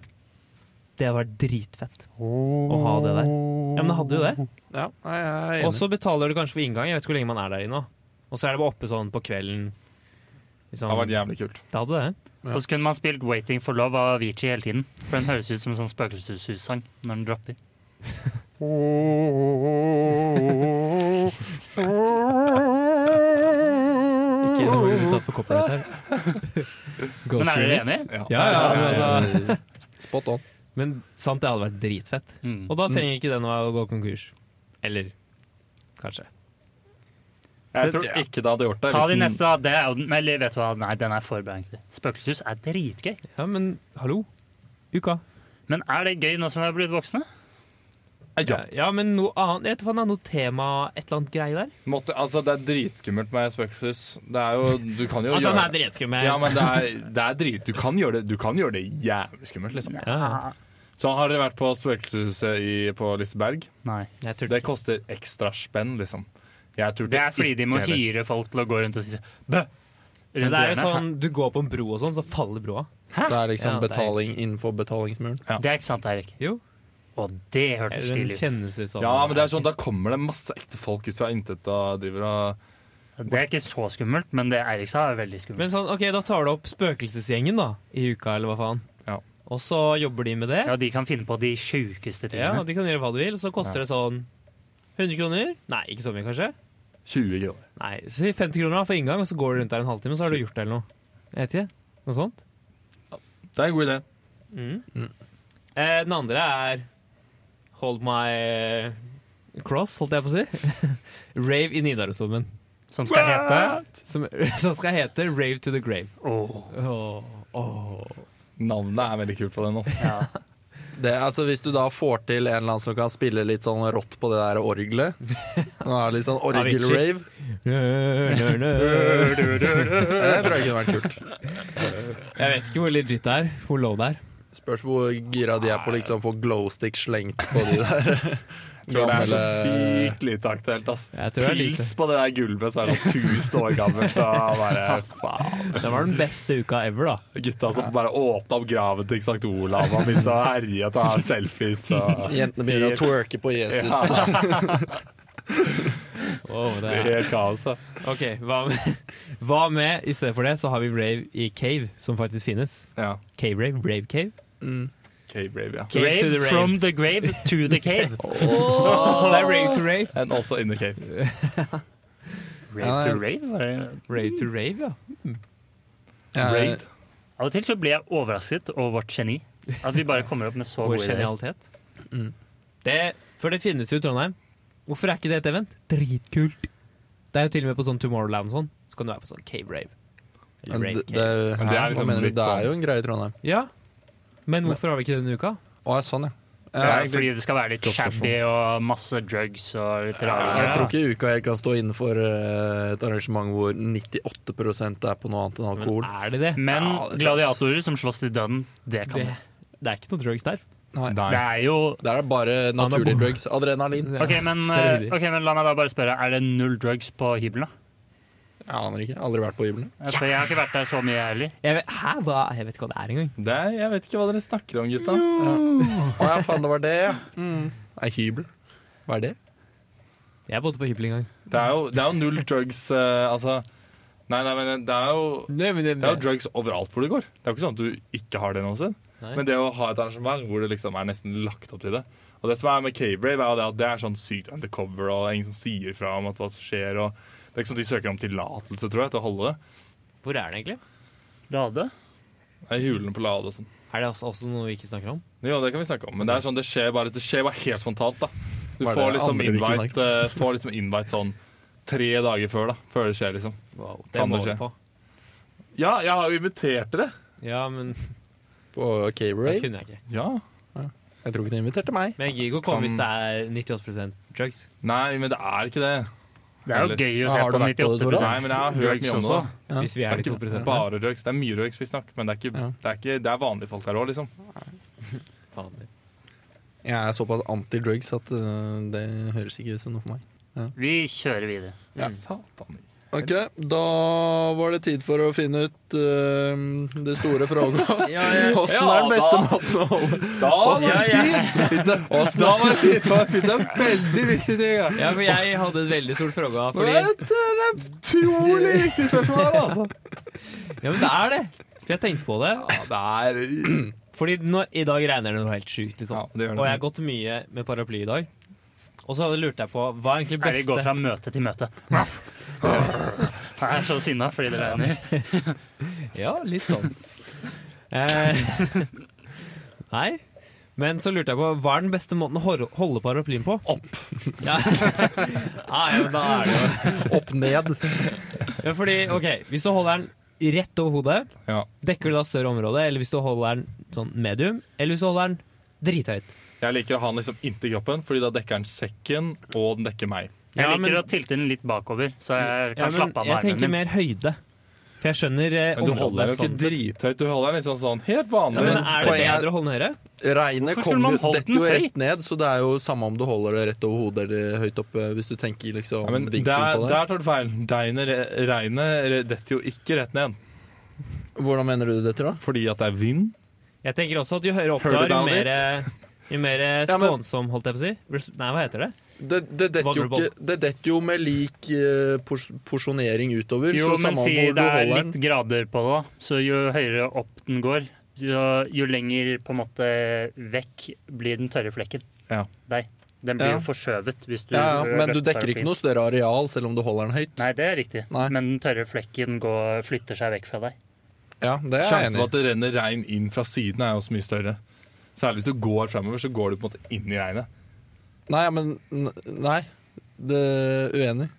[SPEAKER 2] Det hadde vært dritfett å ha det der. Ja, men det hadde jo det.
[SPEAKER 4] Ja, nei, jeg er enig.
[SPEAKER 2] Og så betaler du kanskje for inngang, jeg vet ikke hvor lenge man er der inne. da. Og så er det bare oppe sånn på kvelden.
[SPEAKER 1] Det
[SPEAKER 2] Liksom.
[SPEAKER 1] har vært jævlig kult.
[SPEAKER 2] Det hadde det.
[SPEAKER 3] Og så kunne man spilt 'Waiting for Love' av Avicii hele tiden. For den høres ut som en sånn spøkelseshussang når den dropper.
[SPEAKER 2] Ikke noe unntatt for copyright her.
[SPEAKER 3] Men er dere
[SPEAKER 2] Remix.
[SPEAKER 3] enig?
[SPEAKER 2] Ja, ja, men, altså,
[SPEAKER 4] Spot on.
[SPEAKER 2] men sant, det hadde vært dritfett.
[SPEAKER 3] Mm.
[SPEAKER 2] Og da trenger ikke den å gå konkurs. Eller kanskje.
[SPEAKER 1] Jeg tror ikke det hadde gjort det.
[SPEAKER 3] Ta
[SPEAKER 1] hvis
[SPEAKER 3] de
[SPEAKER 2] liksom-
[SPEAKER 1] den-
[SPEAKER 3] neste, da. Det er jo den Eller vet du hva, nei, den er for bra, egentlig. Spøkelseshus er dritgøy.
[SPEAKER 2] Ja, men hallo. Uka.
[SPEAKER 3] Men er det gøy nå som vi har blitt voksne?
[SPEAKER 1] Ja.
[SPEAKER 2] Eh, Ja, men noe annet Jeg vet faen, det er noe tema, et eller annet greie der.
[SPEAKER 1] Måtte, altså, det er dritskummelt med spøkelseshus. Det er jo Du kan jo
[SPEAKER 2] Altså,
[SPEAKER 1] gjøre
[SPEAKER 2] den er dritskummel.
[SPEAKER 1] Ja, men det er, det er drit. Du kan gjøre det, du kan gjøre det jævlig skummelt, liksom.
[SPEAKER 2] Ja,
[SPEAKER 1] Så har dere vært på spøkelseshuset i, på Liseberg.
[SPEAKER 3] Nei.
[SPEAKER 2] jeg turte
[SPEAKER 1] Det koster ekstra spenn, liksom. Jeg turte
[SPEAKER 3] Det er fordi de må
[SPEAKER 1] ikke heller.
[SPEAKER 3] hyre folk til å gå rundt og si bø!
[SPEAKER 2] Men
[SPEAKER 3] Rundt
[SPEAKER 2] det er jo
[SPEAKER 3] hjørnet.
[SPEAKER 2] sånn, du går på en bro og sånn, så faller broa.
[SPEAKER 4] Det er liksom
[SPEAKER 2] Ja, det er-
[SPEAKER 4] betaling innenfor betalingsmuren.
[SPEAKER 3] Det er ikke sant, Eirik.
[SPEAKER 2] Jo.
[SPEAKER 3] Og det hørtes
[SPEAKER 2] Eller den
[SPEAKER 3] stilig ut.
[SPEAKER 2] kjennes ut som
[SPEAKER 1] Ja, men det er sånn, Da kommer det masse ekte folk ut fra intet og driver og
[SPEAKER 3] Det er ikke så skummelt, men det Eirik sa, er veldig skummelt.
[SPEAKER 2] Men sånn, ok, da tar du opp spøkelsesgjengen, da, i uka, eller hva faen.
[SPEAKER 1] Ja.
[SPEAKER 2] Og så jobber de med det.
[SPEAKER 3] Ja, de kan finne på de sjukeste
[SPEAKER 2] Ja,
[SPEAKER 3] tingene.
[SPEAKER 2] De kan gjøre hva de vil, og så koster det sånn 100 kroner. Nei, ikke så mye, kanskje.
[SPEAKER 1] 20 kroner.
[SPEAKER 2] Nei, Si 50 kroner da for inngang, og så går du rundt der en halvtime, og så har du gjort det eller noe. Jeg vet ikke. Noe sånt.
[SPEAKER 1] Det er en god idé.
[SPEAKER 2] Mm. Eh, den andre er Hold my cross, holdt jeg på å si. Rave i Nidarosdomen.
[SPEAKER 3] Som skal hete
[SPEAKER 2] Som, som skal hete Rave to the Grave.
[SPEAKER 3] Åh.
[SPEAKER 1] Navnet er veldig kult på den. Også.
[SPEAKER 3] Ja.
[SPEAKER 4] Det, altså Hvis du da får til en eller annen som kan spille litt sånn rått på det der orgelet Nå er det Litt sånn orgelrave.
[SPEAKER 2] Jeg
[SPEAKER 4] Det tror jeg kunne vært kult.
[SPEAKER 2] vet ikke hvor legit det er, hvor low det er.
[SPEAKER 4] Spørs hvor gira de er på liksom få glowstick slengt på de der.
[SPEAKER 1] Tror det er så
[SPEAKER 4] Gamle-
[SPEAKER 1] sykt lite aktuelt. ass.
[SPEAKER 2] Jeg tror det er lite.
[SPEAKER 1] Pils på det der gulvet som er sånn 1000 år gammelt. Og bare, faen.
[SPEAKER 2] Det var den beste uka ever, da.
[SPEAKER 1] Gutta som bare åpna opp graven til Sankt Olav og begynte å herje og ta selfies. Og
[SPEAKER 4] Jentene begynner å twerke på Jesus.
[SPEAKER 2] Åh, det
[SPEAKER 1] det er
[SPEAKER 2] er.
[SPEAKER 1] helt kaos. da.
[SPEAKER 2] Ok, hva med, hva med I stedet for det så har vi rave i cave, som faktisk finnes.
[SPEAKER 1] Ja.
[SPEAKER 2] Cave rave, rave cave.
[SPEAKER 1] K-Brave, ja.
[SPEAKER 2] Cave to the
[SPEAKER 3] Grave
[SPEAKER 2] rave.
[SPEAKER 3] from the grave to the cave.
[SPEAKER 2] Det er rave to rave.
[SPEAKER 1] And also in the cave.
[SPEAKER 3] Rave to rave? Var det
[SPEAKER 2] Rave to rave, ja.
[SPEAKER 4] Jeg,
[SPEAKER 1] Raid.
[SPEAKER 3] Av og til så blir jeg overrasket over vårt geni. At vi bare kommer opp med så
[SPEAKER 2] Vår
[SPEAKER 3] gode ideer.
[SPEAKER 2] genialitet.
[SPEAKER 4] Mm.
[SPEAKER 2] Det, for det finnes jo i Trondheim. Hvorfor er ikke det et event? Dritkult. Det er jo til og med på sånn Tomorrowland og sånn. Så kan du være på sånn cave rave. Eller
[SPEAKER 4] men
[SPEAKER 2] rave
[SPEAKER 4] det,
[SPEAKER 2] cave.
[SPEAKER 4] det,
[SPEAKER 1] Men det er
[SPEAKER 4] her, hva
[SPEAKER 1] liksom
[SPEAKER 4] mener du?
[SPEAKER 1] litt
[SPEAKER 4] Det
[SPEAKER 1] sånn-
[SPEAKER 4] er jo en greie i Trondheim.
[SPEAKER 2] Ja. Men hvorfor har vi ikke det denne uka?
[SPEAKER 4] Å, ja, sånn, ja.
[SPEAKER 3] Det
[SPEAKER 4] Jeg,
[SPEAKER 3] er fordi det skal være litt shabby og masse drugs og litt rare
[SPEAKER 4] jeg
[SPEAKER 3] greier.
[SPEAKER 4] tror ikke uka helt kan stå innenfor eh, et arrangement hvor 98 er på noe annet enn
[SPEAKER 2] Men
[SPEAKER 4] alkohol.
[SPEAKER 2] er det det?
[SPEAKER 3] Men
[SPEAKER 4] Ja, det tror jeg.
[SPEAKER 3] gladiatorer som slåss til døden, det kan
[SPEAKER 2] det?
[SPEAKER 3] det.
[SPEAKER 2] Det er ikke noe drugs der.
[SPEAKER 3] Det
[SPEAKER 1] Nei.
[SPEAKER 3] er jo
[SPEAKER 4] Der er det bare naturlige drugs. Adrenalin.
[SPEAKER 3] Ok, men, eh,
[SPEAKER 2] Steroider.
[SPEAKER 3] ok, men la meg da bare spørre, er det null drugs på hybelen? da?
[SPEAKER 4] Jeg aner ikke. Jeg har Aldri vært på hybelen.
[SPEAKER 3] Altså, jeg har ikke vært der så mye, jeg heller.
[SPEAKER 2] Jeg vet, hæ, hva? Jeg vet ikke hva det er engang.
[SPEAKER 1] Det er, jeg vet ikke hva dere snakker om, gutta.
[SPEAKER 4] Å ja, faen, det var det, ja. Mm. Nei, hybel. Hva er det?
[SPEAKER 2] Jeg bodde på hybel en gang.
[SPEAKER 1] Det er jo, det er jo null drugs eh, Altså Nei, nei, men det er jo
[SPEAKER 2] Nei, men
[SPEAKER 1] det er jo drugs overalt hvor du går. Det er jo ikke sånn at du ikke har det noe sted.
[SPEAKER 2] Nei.
[SPEAKER 1] Men det å ha et arrangement hvor det liksom er nesten lagt opp til det Og det som er med K-Brave, er jo det at det er sånn sykt undercover, og det er ingen som sier fra om at hva som skjer, og det er ikke sånn at de søker om tillatelse, tror jeg, til å holde det.
[SPEAKER 2] Hvor er det egentlig?
[SPEAKER 3] Lade?
[SPEAKER 1] Det er hulene på Lade og sånn.
[SPEAKER 2] Er det også, også noe vi ikke snakker om?
[SPEAKER 1] Jo, det kan vi snakke om, men det er sånn, det skjer bare, det skjer bare helt spontant, da. Du
[SPEAKER 4] Hva er det
[SPEAKER 1] får liksom,
[SPEAKER 4] andre vi ikke
[SPEAKER 1] invite,
[SPEAKER 4] snakker
[SPEAKER 1] eh, får liksom invite sånn tre dager før, da. Før det skjer, liksom.
[SPEAKER 2] Wow, det
[SPEAKER 1] Kan
[SPEAKER 2] må
[SPEAKER 1] det
[SPEAKER 2] vi
[SPEAKER 1] skje?
[SPEAKER 2] på.
[SPEAKER 1] Ja, jeg har jo invitert dere.
[SPEAKER 2] Ja, men
[SPEAKER 4] På
[SPEAKER 2] det
[SPEAKER 4] K-Brave.
[SPEAKER 2] kunne jeg ikke.
[SPEAKER 1] Ja.
[SPEAKER 4] Jeg tror ikke du inviterte meg.
[SPEAKER 2] Men jeg gidder ikke å komme
[SPEAKER 1] Kan-
[SPEAKER 2] hvis det er 98 drugs.
[SPEAKER 1] Nei, men det er ikke det.
[SPEAKER 3] Det er jo
[SPEAKER 1] Eller-
[SPEAKER 3] gøy å
[SPEAKER 4] Ja,
[SPEAKER 3] se
[SPEAKER 4] har
[SPEAKER 3] på
[SPEAKER 4] du vært på det,
[SPEAKER 3] 98
[SPEAKER 4] Tora?
[SPEAKER 1] Nei, men jeg har hørt
[SPEAKER 3] drugs
[SPEAKER 1] mye om
[SPEAKER 3] også.
[SPEAKER 1] det. da.
[SPEAKER 4] Ja.
[SPEAKER 2] Hvis vi
[SPEAKER 1] Det
[SPEAKER 2] er
[SPEAKER 1] er
[SPEAKER 2] de 2
[SPEAKER 1] ikke
[SPEAKER 2] Bare
[SPEAKER 1] bare drugs. Det er mye drugs vi snakker, men det er, ikke,
[SPEAKER 4] Ja.
[SPEAKER 1] det er, ikke, det er vanlige folk der òg, liksom.
[SPEAKER 2] fader.
[SPEAKER 4] Jeg er såpass anti-drugs at øh, det høres ikke ut som noe for meg.
[SPEAKER 3] Vi kjører videre.
[SPEAKER 4] Ja.
[SPEAKER 1] Satan.
[SPEAKER 4] Ok, Da var det tid for å finne ut øh, det store fråga.
[SPEAKER 2] Ja,
[SPEAKER 4] Åssen er den beste måten å holde
[SPEAKER 1] Da var det
[SPEAKER 2] ja, ja.
[SPEAKER 1] tid! Åssen da var det tid for å finne en veldig viktig ting. her.
[SPEAKER 2] ja, for jeg hadde et veldig stort fråga,
[SPEAKER 1] For
[SPEAKER 2] fordi
[SPEAKER 1] det er et det er et utrolig viktig spørsmål her, altså.
[SPEAKER 2] Ja, men det er det! For jeg tenkte på det.
[SPEAKER 1] Ja, det er
[SPEAKER 2] Fordi nå, i dag regner det noe helt sjukt,
[SPEAKER 1] ja,
[SPEAKER 2] liksom.
[SPEAKER 1] det gjør
[SPEAKER 2] Og jeg har
[SPEAKER 1] det.
[SPEAKER 2] gått mye med paraply i dag. Og så hadde jeg lurt deg på hva er egentlig
[SPEAKER 3] Nei, vi går
[SPEAKER 2] beste
[SPEAKER 3] fra møte til møte. Jeg er så sinna fordi det regner.
[SPEAKER 2] Ja, litt sånn. Eh, nei. Men så lurte jeg på hva er den beste måten å hor- holde paraplyen på? Opp! Ja, ja, ja men da er det jo
[SPEAKER 4] opp ned?
[SPEAKER 2] ja, Fordi, OK, hvis du holder den rett over hodet,
[SPEAKER 1] Ja.
[SPEAKER 2] dekker du da større område? Eller hvis du holder den sånn medium? Eller hvis du holder den drithøyt?
[SPEAKER 1] Jeg liker å ha den liksom inntil kroppen, Fordi da dekker den sekken, og den dekker meg.
[SPEAKER 3] Jeg
[SPEAKER 2] Ja,
[SPEAKER 3] liker
[SPEAKER 2] men-
[SPEAKER 3] å tilte den litt bakover, så jeg
[SPEAKER 2] Ja,
[SPEAKER 3] kan
[SPEAKER 2] men
[SPEAKER 3] slappe av med
[SPEAKER 2] jeg tenker
[SPEAKER 3] armen min.
[SPEAKER 2] mer høyde. For jeg skjønner eh,
[SPEAKER 1] Men du holder
[SPEAKER 2] området
[SPEAKER 1] den jo
[SPEAKER 2] sånn.
[SPEAKER 1] ikke drithøyt, du holder den litt sånn, sånn helt
[SPEAKER 2] Ja,
[SPEAKER 1] vanlig.
[SPEAKER 2] men er det
[SPEAKER 4] Poenget er-
[SPEAKER 2] bedre å holde den høyere?
[SPEAKER 4] Regnet
[SPEAKER 3] Hvorfor skulle
[SPEAKER 4] kommer
[SPEAKER 3] man
[SPEAKER 4] jo,
[SPEAKER 3] holdt
[SPEAKER 4] detter
[SPEAKER 3] den
[SPEAKER 4] jo
[SPEAKER 3] høyt?
[SPEAKER 4] rett ned, så det er jo samme om du holder det rett over hodet eller høyt oppe, hvis du tenker liksom
[SPEAKER 1] Ja, men der,
[SPEAKER 4] vinkelen på det.
[SPEAKER 1] der tar du feil. Deiner, regnet re- detter jo ikke rett ned.
[SPEAKER 4] Hvordan mener du det detter, da?
[SPEAKER 1] Fordi at det er vind.
[SPEAKER 2] Jeg tenker også at jo høyere opp du
[SPEAKER 1] Heard
[SPEAKER 2] er, jo
[SPEAKER 1] about
[SPEAKER 2] mer, eh, jo mer eh,
[SPEAKER 4] Ja, men-
[SPEAKER 2] skånsom, holdt jeg på å si. Res- Nei, hva heter det?
[SPEAKER 4] Det, det, detter, jo
[SPEAKER 2] Vulnerable.
[SPEAKER 4] ikke, det detter jo med lik eh, pors porsjonering utover,
[SPEAKER 3] Jo,
[SPEAKER 4] så
[SPEAKER 3] men
[SPEAKER 4] samme om
[SPEAKER 3] si
[SPEAKER 4] hvor du
[SPEAKER 3] det er
[SPEAKER 4] holder
[SPEAKER 3] litt
[SPEAKER 4] den.
[SPEAKER 3] grader på det, da. Så jo høyere opp den går, jo, jo lenger på en måte vekk blir den tørre flekken.
[SPEAKER 1] Ja.
[SPEAKER 3] Deg. Den blir
[SPEAKER 4] Ja.
[SPEAKER 3] jo forskjøvet hvis du
[SPEAKER 4] Ja, ja, men du
[SPEAKER 3] løfter
[SPEAKER 4] dekker ikke
[SPEAKER 3] paraplyen.
[SPEAKER 4] noe større areal selv om du holder den høyt.
[SPEAKER 3] Nei, det er riktig.
[SPEAKER 4] Nei.
[SPEAKER 3] Men den tørre flekken går, flytter seg vekk fra deg.
[SPEAKER 4] Ja, det er jeg
[SPEAKER 1] Sjansen
[SPEAKER 4] enig
[SPEAKER 1] for
[SPEAKER 4] i.
[SPEAKER 1] at det renner regn inn fra siden er jo også mye større. Særlig hvis du går fremover, så går du på en måte inn i regnet.
[SPEAKER 4] Nei, men n- Nei, det uenig.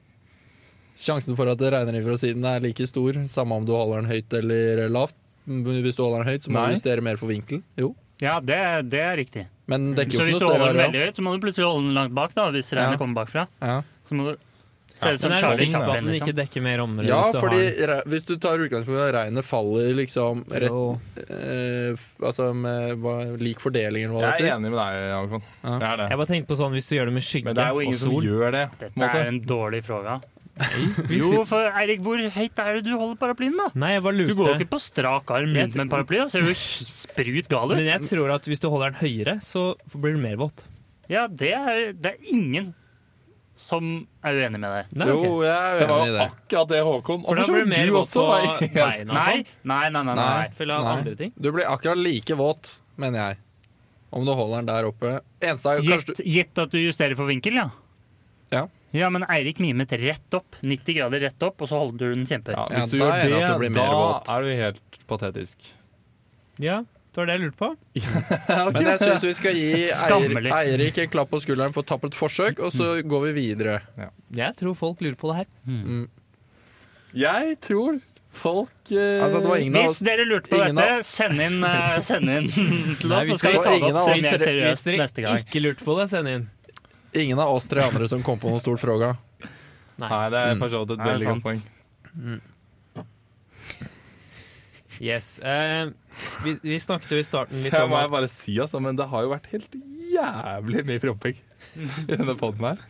[SPEAKER 4] Sjansen for at det regner inn fra siden er like stor, samme om du holder den høyt eller lavt. Men Hvis du holder den høyt, så må
[SPEAKER 1] Nei.
[SPEAKER 4] du justere mer for vinkelen. Jo.
[SPEAKER 3] Ja, det, det er riktig.
[SPEAKER 4] Men dekker
[SPEAKER 3] Så
[SPEAKER 4] jo
[SPEAKER 3] hvis
[SPEAKER 4] ikke
[SPEAKER 3] du
[SPEAKER 4] noe
[SPEAKER 3] holder
[SPEAKER 4] større
[SPEAKER 3] den
[SPEAKER 4] areal.
[SPEAKER 3] veldig høyt, så må du plutselig holde den langt bak, da, hvis regnet
[SPEAKER 4] Ja.
[SPEAKER 3] kommer bakfra.
[SPEAKER 4] Ja.
[SPEAKER 3] Så må du
[SPEAKER 1] Ja,
[SPEAKER 3] se ut som
[SPEAKER 2] Men det
[SPEAKER 3] Charlie
[SPEAKER 2] er sykt
[SPEAKER 1] sjansen, ja.
[SPEAKER 2] at
[SPEAKER 3] Chaplin,
[SPEAKER 2] den
[SPEAKER 3] liksom.
[SPEAKER 2] ikke dekker mer område.
[SPEAKER 4] Ja,
[SPEAKER 2] hvis du har
[SPEAKER 4] fordi
[SPEAKER 2] den.
[SPEAKER 4] re- hvis du tar utgangspunkt i at regnet faller liksom rett
[SPEAKER 2] Jo.
[SPEAKER 4] eh, f- Altså med hva- lik fordeling eller hva det
[SPEAKER 1] Jeg er
[SPEAKER 4] heter.
[SPEAKER 1] enig med deg, Jakob.
[SPEAKER 4] Ja.
[SPEAKER 1] Jeg er
[SPEAKER 2] Jeg
[SPEAKER 1] det.
[SPEAKER 2] bare tenkte på sånn hvis du gjør det med skygge
[SPEAKER 1] Men det er jo
[SPEAKER 2] og
[SPEAKER 1] ingen som
[SPEAKER 2] sol.
[SPEAKER 1] gjør det. på en
[SPEAKER 3] Dette
[SPEAKER 1] måte.
[SPEAKER 3] er en dårlig fråga. Jo,
[SPEAKER 1] Jo,
[SPEAKER 3] for Eirik, hvor høyt er det du holder paraplyen, da?
[SPEAKER 2] Nei, jeg bare
[SPEAKER 3] Du går jo
[SPEAKER 2] lurte.
[SPEAKER 3] ikke på strak arm
[SPEAKER 2] Jeg
[SPEAKER 3] rundt med en paraply, da ser du sprut gal
[SPEAKER 2] Men
[SPEAKER 3] ut.
[SPEAKER 2] jeg tror at hvis du holder den høyere, så blir du mer våt.
[SPEAKER 3] Ja, det er, det er ingen som er uenig med deg.
[SPEAKER 2] Nei,
[SPEAKER 4] Jo,
[SPEAKER 2] ok.
[SPEAKER 4] jeg
[SPEAKER 1] det
[SPEAKER 4] er
[SPEAKER 1] var
[SPEAKER 4] uenig i
[SPEAKER 1] jo
[SPEAKER 4] det.
[SPEAKER 1] akkurat det, Håkon.
[SPEAKER 2] For da
[SPEAKER 1] Hvorfor
[SPEAKER 2] blir du
[SPEAKER 1] skjønner
[SPEAKER 2] mer
[SPEAKER 1] du
[SPEAKER 2] våt
[SPEAKER 1] også?
[SPEAKER 2] på
[SPEAKER 1] var-
[SPEAKER 2] beina og
[SPEAKER 3] Nei,
[SPEAKER 2] sånn.
[SPEAKER 3] nei, nei. nei, nei.
[SPEAKER 4] Nei.
[SPEAKER 2] Fyll av
[SPEAKER 4] Nei.
[SPEAKER 2] andre ting.
[SPEAKER 4] Du blir akkurat like våt, mener jeg. Om du holder den der oppe. Eneste er kanskje
[SPEAKER 3] Gjett, gjett at du justerer for vinkel, ja.
[SPEAKER 4] Ja.
[SPEAKER 3] Ja, men Eirik mimet rett opp. 90 grader rett opp, og så holder du den kjempehøyt.
[SPEAKER 1] Ja,
[SPEAKER 4] Ja,
[SPEAKER 1] hvis du
[SPEAKER 4] da
[SPEAKER 1] gjør
[SPEAKER 4] er jeg enig at det
[SPEAKER 1] det,
[SPEAKER 4] blir mer våt.
[SPEAKER 1] da er du helt patetisk.
[SPEAKER 2] Ja, det var det jeg lurte på.
[SPEAKER 4] Men jeg syns vi skal gi Eir-
[SPEAKER 3] Skammelig.
[SPEAKER 4] Eirik en klapp på skulderen for tappert forsøk, og så går vi videre.
[SPEAKER 2] Jeg tror folk lurer på det her.
[SPEAKER 1] Jeg tror folk eh,
[SPEAKER 4] Altså, det var ingen av
[SPEAKER 3] Hvis
[SPEAKER 4] oss
[SPEAKER 3] dere lurte på
[SPEAKER 4] ingen
[SPEAKER 3] dette, send inn, eh, send inn til
[SPEAKER 2] Nei,
[SPEAKER 3] oss,
[SPEAKER 2] vi
[SPEAKER 3] så skal vi
[SPEAKER 4] skal-
[SPEAKER 3] ta det
[SPEAKER 4] ingen av
[SPEAKER 3] opp
[SPEAKER 4] oss-
[SPEAKER 3] mer
[SPEAKER 2] Hvis
[SPEAKER 3] seriøst
[SPEAKER 2] dere
[SPEAKER 3] neste gang.
[SPEAKER 2] ikke lurte på det, send inn.
[SPEAKER 4] Ingen av oss tre andre som kom på noen stor fråga.
[SPEAKER 1] Nei, det
[SPEAKER 4] Mm.
[SPEAKER 1] er for så vidt et
[SPEAKER 3] Nei, det er
[SPEAKER 1] veldig
[SPEAKER 3] sant.
[SPEAKER 1] godt poeng.
[SPEAKER 2] Yes. eh, vi, vi snakket jo i starten litt
[SPEAKER 1] Her
[SPEAKER 2] om
[SPEAKER 1] må jeg
[SPEAKER 2] at
[SPEAKER 1] bare si, altså, men det har jo vært helt jævlig mye fromping i denne poden her.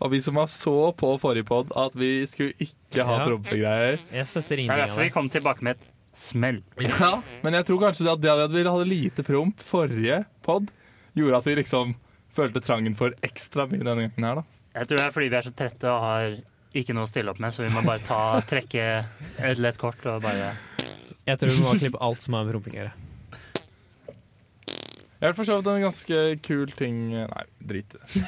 [SPEAKER 1] Og vi som har så på forrige pod at vi skulle ikke ha
[SPEAKER 2] Ja.
[SPEAKER 1] prompegreier.
[SPEAKER 2] Jeg støtter
[SPEAKER 3] Det er
[SPEAKER 2] ingenting av
[SPEAKER 3] derfor vi
[SPEAKER 2] det.
[SPEAKER 3] kom tilbake med et smell.
[SPEAKER 1] Ja, men jeg tror kanskje det at det at vi hadde lite promp forrige pod, gjorde at vi liksom følte trangen for ekstra mye denne gangen her, da.
[SPEAKER 3] Jeg tror det er fordi vi er så trette og har ikke noe å stille opp med, så vi må bare ta, trekke et lett kort og bare
[SPEAKER 2] Jeg tror vi må klippe alt som har med rumping å gjøre.
[SPEAKER 1] Jeg har for så vidt en ganske kul ting Nei, drit i det.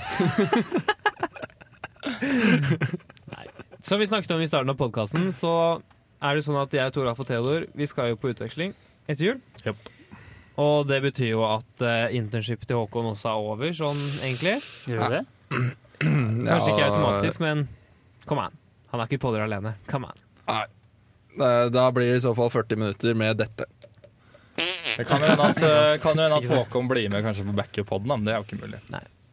[SPEAKER 2] Som vi snakket om i starten av podkasten, så er det sånn at jeg, Toralf og Theodor vi skal jo på utveksling etter jul.
[SPEAKER 1] Japp.
[SPEAKER 2] Og det betyr jo at eh, internshipet til Håkon også er over, sånn egentlig.
[SPEAKER 3] Gjør du det?
[SPEAKER 2] Kanskje ikke automatisk, men come on. Han er ikke på dere alene. Come on.
[SPEAKER 4] Eh, Da blir det i så fall 40 minutter med dette.
[SPEAKER 1] Det kan jo hende at, eh, kan jo hende at Håkon blir med kanskje på backup-poden, men det er jo ikke mulig.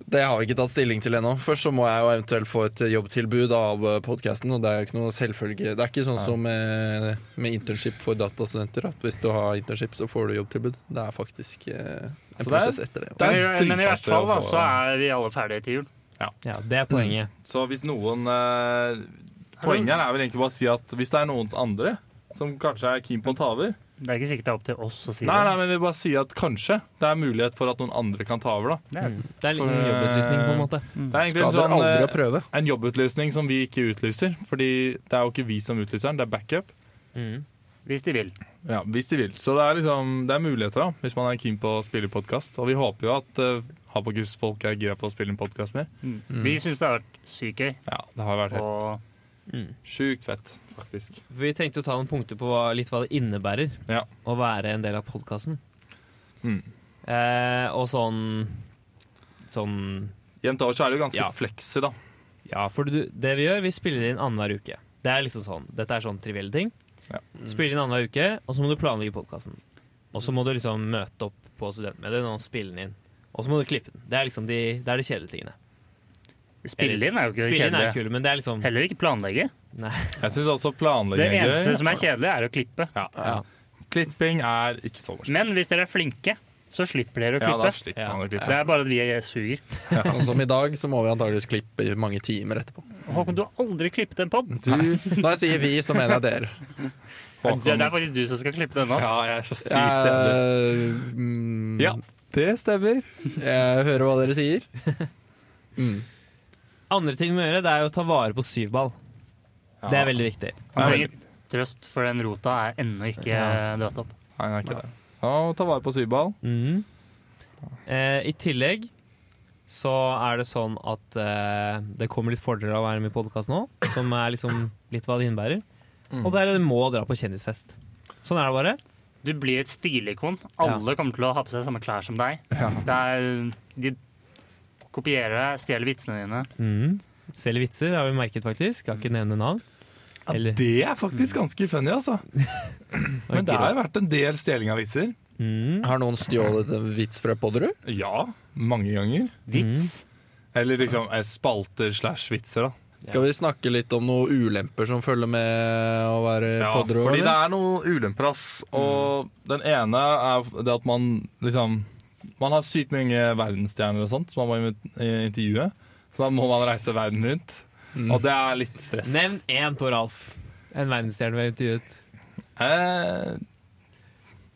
[SPEAKER 4] Det har vi ikke tatt stilling til ennå. Først så må jeg jo eventuelt få et jobbtilbud av podkasten. Og det er jo ikke noe selvfølge Det er ikke sånn
[SPEAKER 1] Nei.
[SPEAKER 4] som med, med internship for datastudenter. At hvis du har internship, så får du jobbtilbud. Det er faktisk eh,
[SPEAKER 1] Så
[SPEAKER 4] en
[SPEAKER 1] det er-
[SPEAKER 4] prosess etter det.
[SPEAKER 1] Det er
[SPEAKER 3] Men, men i
[SPEAKER 1] dritvanskelig
[SPEAKER 3] hvert fall da,
[SPEAKER 1] å få-
[SPEAKER 3] så er vi alle ferdige til jul.
[SPEAKER 2] Ja, Det er poenget.
[SPEAKER 1] Så hvis noen eh, Poenget her er vel egentlig bare å si at hvis det er noen andre som kanskje er keen på å ta over
[SPEAKER 3] Det er ikke sikkert det er opp til oss å si
[SPEAKER 1] Nei, nei, men vi bare sier at kanskje det er mulighet for at noen andre kan ta over, da.
[SPEAKER 3] det. det.
[SPEAKER 2] Mm. Det er en liten
[SPEAKER 1] For, eh,
[SPEAKER 2] jobbutlysning, på en måte.
[SPEAKER 3] mm,
[SPEAKER 1] Det er egentlig
[SPEAKER 4] Skal
[SPEAKER 1] en,
[SPEAKER 4] dere
[SPEAKER 1] sånn,
[SPEAKER 4] aldri
[SPEAKER 1] eh,
[SPEAKER 4] prøve?
[SPEAKER 1] en jobbutlysning som vi ikke utlyser. Fordi det er jo ikke vi som utlyser den, det er backup.
[SPEAKER 2] Mm.
[SPEAKER 3] Hvis de vil.
[SPEAKER 1] Ja, Hvis de vil. Så det er liksom, det er muligheter, da, hvis man er keen på å spille podkast. Og vi håper jo at uh, Habakus-folk er gira på å spille en podkast mer.
[SPEAKER 3] Mm. Vi syns det har vært sykt gøy,
[SPEAKER 1] Ja, det har vært helt
[SPEAKER 3] og
[SPEAKER 2] Mm.
[SPEAKER 1] sjukt fett, faktisk.
[SPEAKER 2] For Vi tenkte å ta noen punkter på hva, litt hva det innebærer
[SPEAKER 1] Ja.
[SPEAKER 2] å være en del av podkasten.
[SPEAKER 1] Mm.
[SPEAKER 2] Eh, og sånn Sånn
[SPEAKER 1] Jevnt over så er det jo ganske
[SPEAKER 2] Ja.
[SPEAKER 1] flexy, da.
[SPEAKER 2] Ja, for du, det vi gjør, vi spiller inn annenhver uke. Det er liksom sånn, Dette er sånn trivielle ting.
[SPEAKER 1] Ja.
[SPEAKER 2] Spiller inn annenhver uke, og så må du planlegge podkasten. Og så må du liksom møte opp på studentmediet og spille den inn. Og så må du klippe den. Det er liksom de, det er de kjedelige tingene.
[SPEAKER 3] spille inn er jo ikke det
[SPEAKER 2] Spille inn er
[SPEAKER 3] kjedelige.
[SPEAKER 2] kule, men det er liksom
[SPEAKER 3] Heller ikke planlegge.
[SPEAKER 1] Jeg syns også
[SPEAKER 3] Det
[SPEAKER 1] planlegging er
[SPEAKER 3] eneste
[SPEAKER 1] gøy.
[SPEAKER 3] som er kjedelig, er å klippe.
[SPEAKER 4] Ja.
[SPEAKER 1] Klipping er ikke så morsomt.
[SPEAKER 3] Men hvis dere er flinke, så slipper dere å
[SPEAKER 1] Ja, da
[SPEAKER 3] klippe.
[SPEAKER 1] slipper man å klippe.
[SPEAKER 3] det er bare at vi er suger.
[SPEAKER 4] Sånn som i dag, så må vi antageligvis klippe i mange timer etterpå.
[SPEAKER 3] Håkon, du har aldri klippet en pod.
[SPEAKER 1] Du,
[SPEAKER 4] Når jeg sier vi, så mener jeg dere.
[SPEAKER 1] Håkon-
[SPEAKER 3] Det er faktisk du som skal klippe denne.
[SPEAKER 1] Ja,
[SPEAKER 3] ass.
[SPEAKER 1] jeg er så sykt enig.
[SPEAKER 4] Jeg, mm,
[SPEAKER 1] Ja, Ehm, det stemmer.
[SPEAKER 4] jeg hører hva dere sier. Mm.
[SPEAKER 2] Andre ting vi må gjøre, det er jo å ta vare på syvball. Det er veldig viktig.
[SPEAKER 1] Nei,
[SPEAKER 3] Han trenger trøst, for den rota er ennå ikke eh,
[SPEAKER 2] Ja.
[SPEAKER 3] dratt opp.
[SPEAKER 1] Nei, det er ikke det. Ja, og ta vare på syvball.
[SPEAKER 2] Mhm. Eh, I tillegg så er det sånn at eh, det kommer litt fordeler av å være med i podkast nå, som er liksom litt hva det innebærer.
[SPEAKER 4] Mm.
[SPEAKER 2] Og der er det må dra på kjendisfest. Sånn er det bare.
[SPEAKER 3] Du blir et stilikon. Alle kommer til å ha på seg samme klær som deg. Det er, de kopierer deg, stjeler vitsene dine.
[SPEAKER 4] Mm.
[SPEAKER 2] Mhm. Stjeler vitser, har vi merket faktisk. Skal ikke nevne navn. Eller-
[SPEAKER 1] det er faktisk ganske funny, altså. Men det har vært en del stjeling av vitser.
[SPEAKER 2] Mhm.
[SPEAKER 4] Har noen stjålet en vits fra Podderud?
[SPEAKER 1] Ja, mange ganger.
[SPEAKER 3] Vits.
[SPEAKER 1] Eller liksom eh, spalter slash vitser, da.
[SPEAKER 4] Skal vi snakke litt om noen ulemper som følger med å være
[SPEAKER 1] Ja,
[SPEAKER 4] Podderud?
[SPEAKER 1] fordi det
[SPEAKER 4] eller?
[SPEAKER 1] er noen ulemper, ass. Og den ene er det at man liksom Man har sykt mange verdensstjerner og sånt som man må invit- eh, intervjue. Så da må man reise verden rundt. Og det er litt stress.
[SPEAKER 2] Nevn én, Tor Alf. En verdensstjerne vi har intervjuet.
[SPEAKER 1] Eh,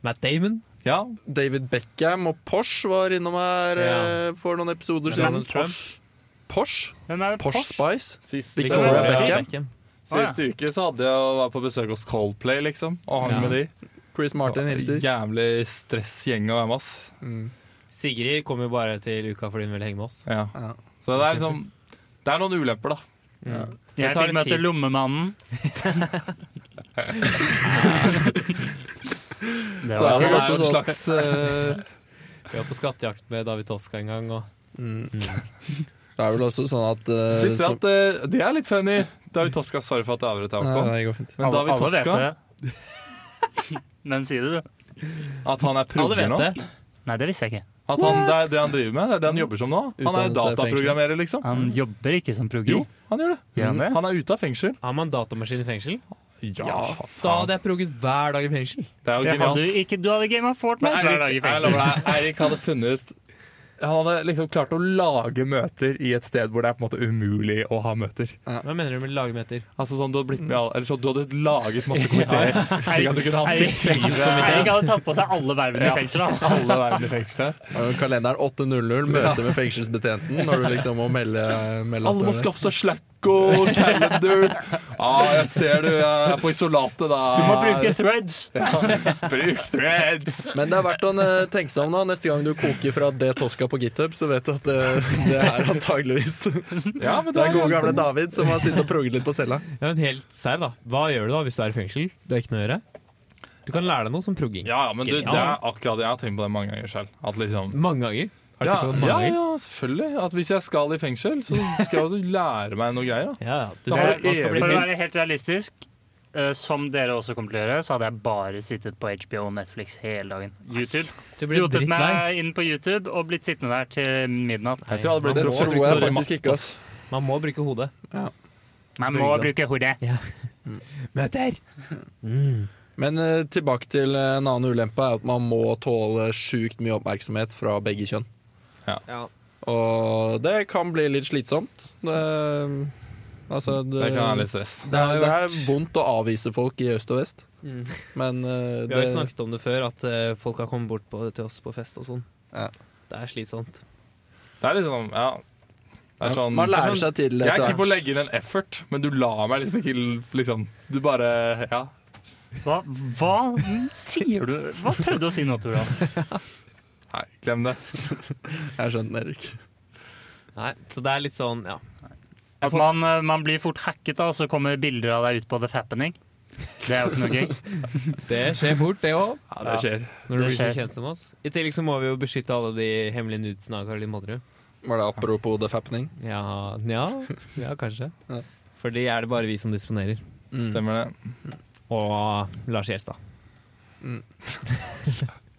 [SPEAKER 2] Matt Damon.
[SPEAKER 1] ja,
[SPEAKER 4] David Beckham og Porsche var innom her
[SPEAKER 2] Ja.
[SPEAKER 4] eh, for noen episoder
[SPEAKER 2] Donald
[SPEAKER 4] siden.
[SPEAKER 2] Trump.
[SPEAKER 4] Porsche?
[SPEAKER 3] Hvem er det?
[SPEAKER 4] Porsche Spice?
[SPEAKER 1] sist
[SPEAKER 4] Victoria
[SPEAKER 1] Ja.
[SPEAKER 4] Beckham.
[SPEAKER 1] Sist uke så hadde jeg var på besøk hos Coldplay, liksom, og hang
[SPEAKER 2] Ja.
[SPEAKER 1] med de.
[SPEAKER 4] Chris Martin hilser.
[SPEAKER 1] Jævlig stressgjeng å være med, ass.
[SPEAKER 4] Mm.
[SPEAKER 2] Sigrid kommer jo bare til uka fordi hun vil henge med oss.
[SPEAKER 1] Ja.
[SPEAKER 4] Ja.
[SPEAKER 1] Så det er liksom Det er noen ulemper, da.
[SPEAKER 4] Ja.
[SPEAKER 3] Jeg
[SPEAKER 2] Det tar
[SPEAKER 3] fikk
[SPEAKER 2] litt
[SPEAKER 3] møte
[SPEAKER 2] tid.
[SPEAKER 3] Lommemannen. det
[SPEAKER 4] Så
[SPEAKER 1] Ja,
[SPEAKER 4] er
[SPEAKER 3] var
[SPEAKER 1] han
[SPEAKER 4] det
[SPEAKER 1] er
[SPEAKER 4] også
[SPEAKER 1] jo en
[SPEAKER 4] sånn-
[SPEAKER 1] slags eh,
[SPEAKER 2] Vi var på skattejakt med David Toska en gang. Og
[SPEAKER 4] Mm. Det er vel også sånn at eh,
[SPEAKER 1] Visste
[SPEAKER 4] som-
[SPEAKER 1] du at eh, Det er litt funny. David Toska, sorry for at jeg avbrøt deg,
[SPEAKER 4] Nei,
[SPEAKER 1] Håkon.
[SPEAKER 4] nei, det går fint.
[SPEAKER 1] Men David
[SPEAKER 3] alle vet
[SPEAKER 1] Toska,
[SPEAKER 3] det. Men si det, du.
[SPEAKER 1] at han er
[SPEAKER 2] alle
[SPEAKER 1] progger
[SPEAKER 2] vet
[SPEAKER 1] nå
[SPEAKER 2] det.
[SPEAKER 3] Nei, det visste jeg ikke.
[SPEAKER 1] At han, Det er det han driver med, det er det han jobber som nå. Han er
[SPEAKER 4] Utdannelse,
[SPEAKER 1] dataprogrammerer, liksom.
[SPEAKER 3] Han jobber ikke som proggy.
[SPEAKER 1] Jo, han gjør det.
[SPEAKER 3] Gjør han det?
[SPEAKER 1] Han er ute av fengsel.
[SPEAKER 2] Har man datamaskin i fengsel?
[SPEAKER 1] Ja,
[SPEAKER 2] Da
[SPEAKER 1] faen.
[SPEAKER 2] hadde jeg progget hver dag i fengsel.
[SPEAKER 1] Det er jo
[SPEAKER 3] Det hadde
[SPEAKER 1] genialt.
[SPEAKER 3] du ikke. Du hadde game of
[SPEAKER 1] Men
[SPEAKER 3] Fortnite hver dag i
[SPEAKER 1] Eirik, jeg
[SPEAKER 3] fengsel.
[SPEAKER 1] lover deg, Eirik hadde funnet han hadde liksom klart å lage møter i et sted hvor det er på en måte umulig å ha møter.
[SPEAKER 2] Hva mener du med lagmeter?
[SPEAKER 1] Altså sånn, Du hadde blitt med i alle, eller så du hadde laget masse komiteer. Slik at du kunne ha
[SPEAKER 3] Eirik Eirik hadde tatt på seg alle vervene i fengsel. da.
[SPEAKER 1] alle verden i fengselet.
[SPEAKER 4] Det er jo Kalenderen 8.00, møte med fengselsbetjenten når du liksom må melde, melde at
[SPEAKER 1] Alle må
[SPEAKER 4] du er
[SPEAKER 1] skaffe seg Slack og Calendar. ah, jeg ser du er på isolatet, da.
[SPEAKER 3] Du må bruke threads.
[SPEAKER 1] Bruk threads!
[SPEAKER 4] det. Men det er verdt å eh, tenke seg om da. Neste gang du koker fra det Tosca på GitHub, så vet du at det, det er antageligvis
[SPEAKER 1] Ja, men
[SPEAKER 4] Det er gode gamle David som har sittet og progget litt på cella.
[SPEAKER 2] Ja, men helt serr, da. Hva gjør du da hvis du er i fengsel? Du har ikke noe å gjøre. Du kan lære deg noe som progging.
[SPEAKER 1] Ja, ja, men du, det er akkurat det. Jeg har tenkt på det mange ganger selv. At liksom
[SPEAKER 2] Mange ganger. Har du
[SPEAKER 1] ja,
[SPEAKER 2] tenkt på det
[SPEAKER 1] ja,
[SPEAKER 2] mange ganger?
[SPEAKER 1] ja, selvfølgelig. At hvis jeg skal i fengsel, så skal jeg jo lære meg noe greier. da
[SPEAKER 2] Ja, ja. Du
[SPEAKER 1] Da
[SPEAKER 2] skal,
[SPEAKER 1] har
[SPEAKER 3] For
[SPEAKER 2] man
[SPEAKER 1] du
[SPEAKER 2] skal bli
[SPEAKER 3] for å
[SPEAKER 2] til.
[SPEAKER 3] være helt realistisk, eh, som dere også kommer til å gjøre, så hadde jeg bare sittet på HBO og Netflix hele dagen. YouTube.
[SPEAKER 2] Du blir
[SPEAKER 3] Rotet
[SPEAKER 2] drittlei.
[SPEAKER 3] meg inn på YouTube og blitt sittende der til midnatt.
[SPEAKER 1] Jeg tror jeg hadde blitt
[SPEAKER 4] Det
[SPEAKER 1] professor
[SPEAKER 4] tror jeg
[SPEAKER 1] i matte.
[SPEAKER 4] faktisk ikke, ass.
[SPEAKER 2] Man må bruke hodet.
[SPEAKER 3] Man må bruke hodet.
[SPEAKER 2] Møter!
[SPEAKER 4] Men eh, tilbake til eh, en annen ulempe er at man må tåle sjukt mye oppmerksomhet fra begge kjønn.
[SPEAKER 1] Ja.
[SPEAKER 2] Ja.
[SPEAKER 4] Og det kan bli litt slitsomt. Det, altså, det,
[SPEAKER 1] Det kan være litt stress.
[SPEAKER 4] det er, det er vondt å avvise folk i øst og vest,
[SPEAKER 2] Mm.
[SPEAKER 4] men eh,
[SPEAKER 2] Vi har
[SPEAKER 4] det,
[SPEAKER 2] jo snakket om det før, at eh, folk har kommet bort på, til oss på fest og sånn.
[SPEAKER 4] Ja.
[SPEAKER 2] Det er slitsomt.
[SPEAKER 1] Det er liksom, ja det er sånn,
[SPEAKER 4] man
[SPEAKER 1] det
[SPEAKER 4] lærer
[SPEAKER 1] er sånn-
[SPEAKER 4] seg til
[SPEAKER 1] Jeg er
[SPEAKER 4] etter
[SPEAKER 1] keen på å
[SPEAKER 4] hvert.
[SPEAKER 1] legge inn en effort, men du lar meg liksom ikke liksom, Du bare Ja.
[SPEAKER 3] Hva, hva sier du? Hva prøvde du å si nå, Tora?
[SPEAKER 1] Nei, glem det.
[SPEAKER 4] Jeg skjønte den, Erik.
[SPEAKER 2] Nei, så det er litt sånn, ja.
[SPEAKER 3] At man, eh, man blir fort hacket, da, og så kommer bilder av deg ut på The Fappening. Det er jo ikke noe gøy.
[SPEAKER 2] Det skjer fort, det òg.
[SPEAKER 1] Ja, det skjer.
[SPEAKER 2] Når du
[SPEAKER 3] Det
[SPEAKER 2] blir så
[SPEAKER 3] skjer.
[SPEAKER 2] kjent som oss. I tillegg så må vi jo beskytte alle de hemmelige nudesene av Caroline Modderud.
[SPEAKER 4] Var det apropos the fappening?
[SPEAKER 2] Ja, ja, ja, kanskje.
[SPEAKER 4] Ja.
[SPEAKER 2] For de er det bare vi som disponerer.
[SPEAKER 4] Mm.
[SPEAKER 1] Stemmer det.
[SPEAKER 2] Og Lars Gjerstad.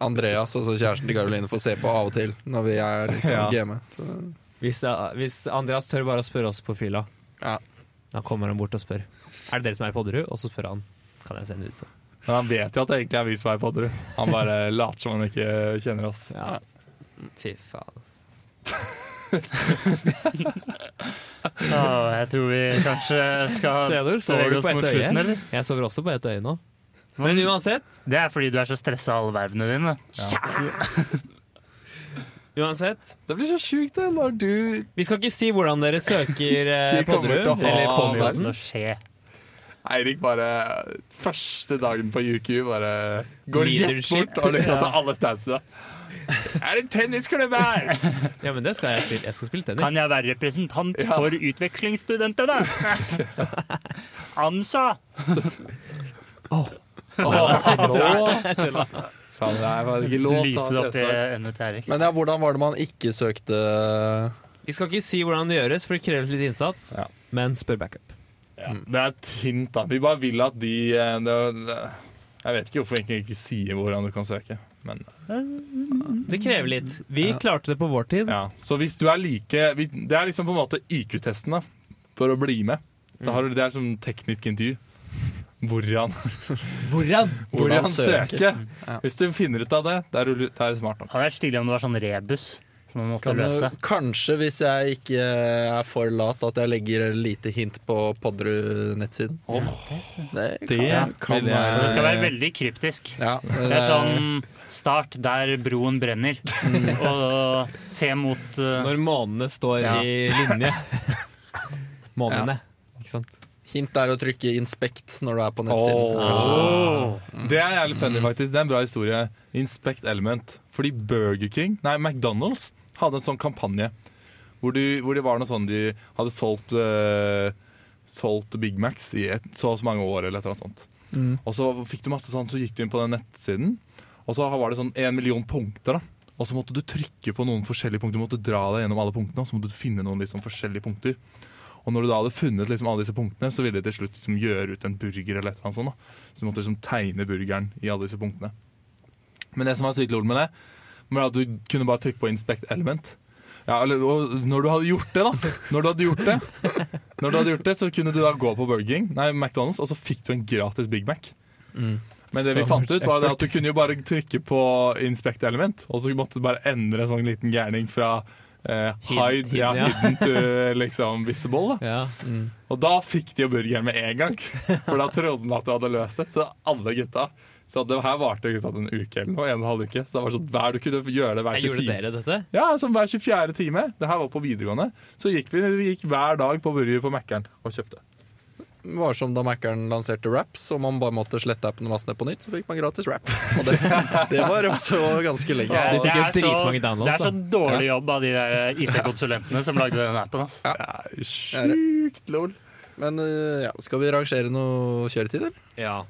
[SPEAKER 4] Andreas, altså kjæresten til Karoline, får se på av og til når vi er liksom
[SPEAKER 1] Ja.
[SPEAKER 4] game. Så,
[SPEAKER 2] Hvis, eh, hvis Andreas tør bare å spørre oss på fylla,
[SPEAKER 4] ja.
[SPEAKER 2] da kommer han bort og spør. Er det dere som er i Podderud? Og så spør han. Kan jeg se en nudese?
[SPEAKER 1] Men han vet jo at det egentlig er vi som er poddere. Han bare later som han ikke kjenner oss.
[SPEAKER 2] Ja. Fy faen.
[SPEAKER 3] Å, jeg tror vi kanskje skal
[SPEAKER 2] Theodor, sover
[SPEAKER 3] bevege
[SPEAKER 2] du
[SPEAKER 3] oss
[SPEAKER 2] på ett
[SPEAKER 3] mot
[SPEAKER 2] øye?
[SPEAKER 3] slutten, eller?
[SPEAKER 2] Jeg sover også på ett øye nå. Men uansett,
[SPEAKER 3] Det er fordi du er så stressa av alle vervene dine.
[SPEAKER 2] uansett
[SPEAKER 1] Det blir så sjukt, det, når du
[SPEAKER 2] Vi skal ikke si hvordan dere søker eh,
[SPEAKER 1] Ikke kommer til å
[SPEAKER 2] Podderud
[SPEAKER 1] ha
[SPEAKER 2] eller
[SPEAKER 1] noe
[SPEAKER 2] podkasten.
[SPEAKER 3] Å skje.
[SPEAKER 1] Eirik bare Første dagen på UQ bare går rett
[SPEAKER 2] Leadership.
[SPEAKER 1] bort og liksom tar alle stansene. Er det en tennisklubb her?!
[SPEAKER 2] Ja, men det skal jeg spille. Jeg skal spille tennis.
[SPEAKER 3] Kan jeg være representant for utvekslingsstudentene? ANSA!
[SPEAKER 1] Faen, det er faktisk ikke lov
[SPEAKER 3] Lyse det opp i øynene til Erik.
[SPEAKER 4] Men ja, hvordan var det man ikke søkte
[SPEAKER 2] Vi skal ikke si hvordan det gjøres, for det krever litt innsats.
[SPEAKER 1] Ja.
[SPEAKER 2] Men spør backup.
[SPEAKER 1] Ja, det er et hint, da. Vi bare vil at de eh, det, det, Jeg vet ikke hvorfor egentlig ikke sier hvordan du kan søke. Men,
[SPEAKER 2] Det krever litt. Vi klarte det på vår tid.
[SPEAKER 1] ja. Så hvis du er like hvis, Det er liksom på en måte IQ-testen da for å bli med. Da har du, det er som teknisk intervju. Hvordan,
[SPEAKER 2] Hvordan?
[SPEAKER 1] hvordan
[SPEAKER 4] søke?
[SPEAKER 1] søke? Hvis du finner ut av det, det er du det er du smart nok.
[SPEAKER 3] Det hadde vært stilig om det var sånn rebus som man måtte
[SPEAKER 4] Kan
[SPEAKER 3] løse.
[SPEAKER 4] du, eh, Kanskje, hvis jeg ikke eh, er for lat, at jeg legger et lite hint på Podderud-nettsiden. Det
[SPEAKER 1] Det vil jeg-
[SPEAKER 3] Det skal være
[SPEAKER 2] Eh.
[SPEAKER 3] veldig kryptisk.
[SPEAKER 4] Ja, eh,
[SPEAKER 3] Det er sånn start der broen brenner,
[SPEAKER 2] Mm.
[SPEAKER 3] og se mot uh,
[SPEAKER 2] Når månene står
[SPEAKER 4] Ja.
[SPEAKER 2] i linje. Månene. Ikke sant?
[SPEAKER 4] Hint er å trykke 'inspect' når du er på nettsiden.
[SPEAKER 1] Åh.
[SPEAKER 3] Altså,
[SPEAKER 4] kanskje.
[SPEAKER 3] Åh.
[SPEAKER 1] Det er jævlig funny, faktisk. Det er en bra historie. Inspect Element. Fordi Burger King, nei, McDonald's hadde en sånn kampanje hvor, de, hvor det var noe sånn de hadde solgt, eh, solgt Big Macs i et, så og så mange år, eller et eller annet sånt. Og så fikk du masse sånn, så gikk du inn på den nettsiden, og så var det sånn en million punkter, da. Og så måtte du trykke på noen forskjellige punkter, du måtte dra deg gjennom alle punktene, og så måtte du finne noen liksom, forskjellige punkter. Og når du da hadde funnet liksom, alle disse punktene, så ville de til slutt liksom, gjøre ut en burger eller et eller annet sånt. da. Så du måtte liksom tegne burgeren i alle disse punktene. Men det som var sykt lol med det, var at du kunne bare trykke på inspect element. Ja, eller, og når du hadde gjort det, da Når du hadde gjort det, Når du hadde gjort det så kunne du da gå på Burger King, nei, McDonald's, og så fikk du en gratis Big Mac. Men det vi
[SPEAKER 2] Så
[SPEAKER 1] fant
[SPEAKER 2] much
[SPEAKER 1] ut, var det at du kunne jo bare trykke på inspect element, og så måtte du bare endre en sånn liten gærning fra eh, hide,
[SPEAKER 2] hidden,
[SPEAKER 1] ja,
[SPEAKER 2] ja.
[SPEAKER 1] hidden to liksom visible. Da.
[SPEAKER 2] Ja.
[SPEAKER 1] Og da fikk de jo burgeren med en gang, for da trodde han at du hadde løst det. Så alle gutta Så det her varte jo ikke sånn en uke eller noe, en og en halv uke. Så det var sånn hver du kunne gjøre det hver
[SPEAKER 2] Jeg
[SPEAKER 1] 24
[SPEAKER 2] gjorde dere dette?
[SPEAKER 1] Ja, som hver 24. time. Det her var på videregående. Så gikk vi, vi gikk hver dag på burger på Mækkern og kjøpte.
[SPEAKER 4] Det var som da Mackeren lanserte raps, og man bare måtte slette appen og laste ned på nytt, så fikk man gratis rap. Og det, det var også ganske lenge.
[SPEAKER 2] Ja, de fikk jo
[SPEAKER 3] Det er så-
[SPEAKER 2] dritmange downloads,
[SPEAKER 3] Det er så dårlig jobb av de der eh, IT-konsulentene som lagde den appen. ass.
[SPEAKER 1] Sjukt lol.
[SPEAKER 4] Men øh, ja, skal vi rangere noe kjøretid, eller?
[SPEAKER 2] Ja.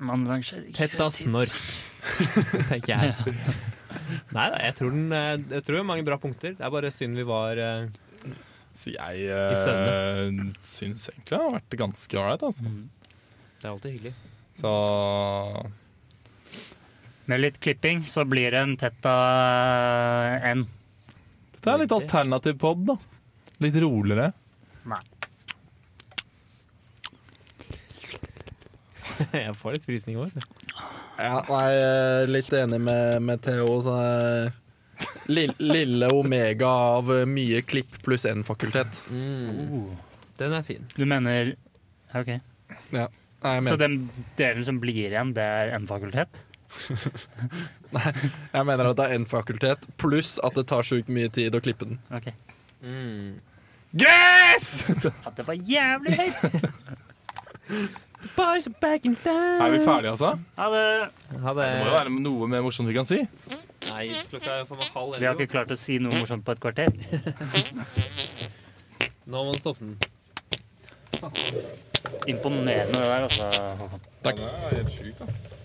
[SPEAKER 3] Man rangerer ikke
[SPEAKER 2] Tett av snork, tenker jeg. Nei da, jeg tror, den, eh, jeg tror det er mange bra punkter. Det er bare synd vi var eh,
[SPEAKER 1] Så
[SPEAKER 2] I
[SPEAKER 1] jeg uh, syns egentlig det har vært ganske ålreit,
[SPEAKER 2] Mm.
[SPEAKER 1] altså.
[SPEAKER 2] Det er alltid hyggelig.
[SPEAKER 1] Så
[SPEAKER 3] Med litt klipping så blir det en tett av en.
[SPEAKER 1] dette er litt alternativ pod, da. Litt roligere.
[SPEAKER 2] Jeg får litt frysning i år.
[SPEAKER 4] Ja, nei, jeg er litt enig med, med Theo. Så det er lille, lille omega av mye klipp pluss én fakultet.
[SPEAKER 2] Den er fin.
[SPEAKER 3] Du mener OK.
[SPEAKER 4] Nei, jeg
[SPEAKER 3] Så
[SPEAKER 4] mener,
[SPEAKER 3] den delen som blir igjen, det er en fakultet?
[SPEAKER 4] jeg mener at det er én fakultet pluss at det tar sjukt mye tid å klippe den.
[SPEAKER 3] Ok.
[SPEAKER 1] Gress!
[SPEAKER 3] At det var jævlig høyt!
[SPEAKER 2] Boys are back in town.
[SPEAKER 1] Er vi ferdige, altså?
[SPEAKER 3] Ja, det,
[SPEAKER 2] Ha det.
[SPEAKER 1] Det må jo være noe mer morsomt vi kan si.
[SPEAKER 2] Nei, klokka er for meg
[SPEAKER 3] vi
[SPEAKER 2] halv
[SPEAKER 3] har
[SPEAKER 2] elleve.
[SPEAKER 3] ikke klart å si noe morsomt på et kvarter.
[SPEAKER 2] Nå må man stoppe den.
[SPEAKER 3] Imponerende det der, altså. Håkon.
[SPEAKER 1] Det er helt sjukt, da.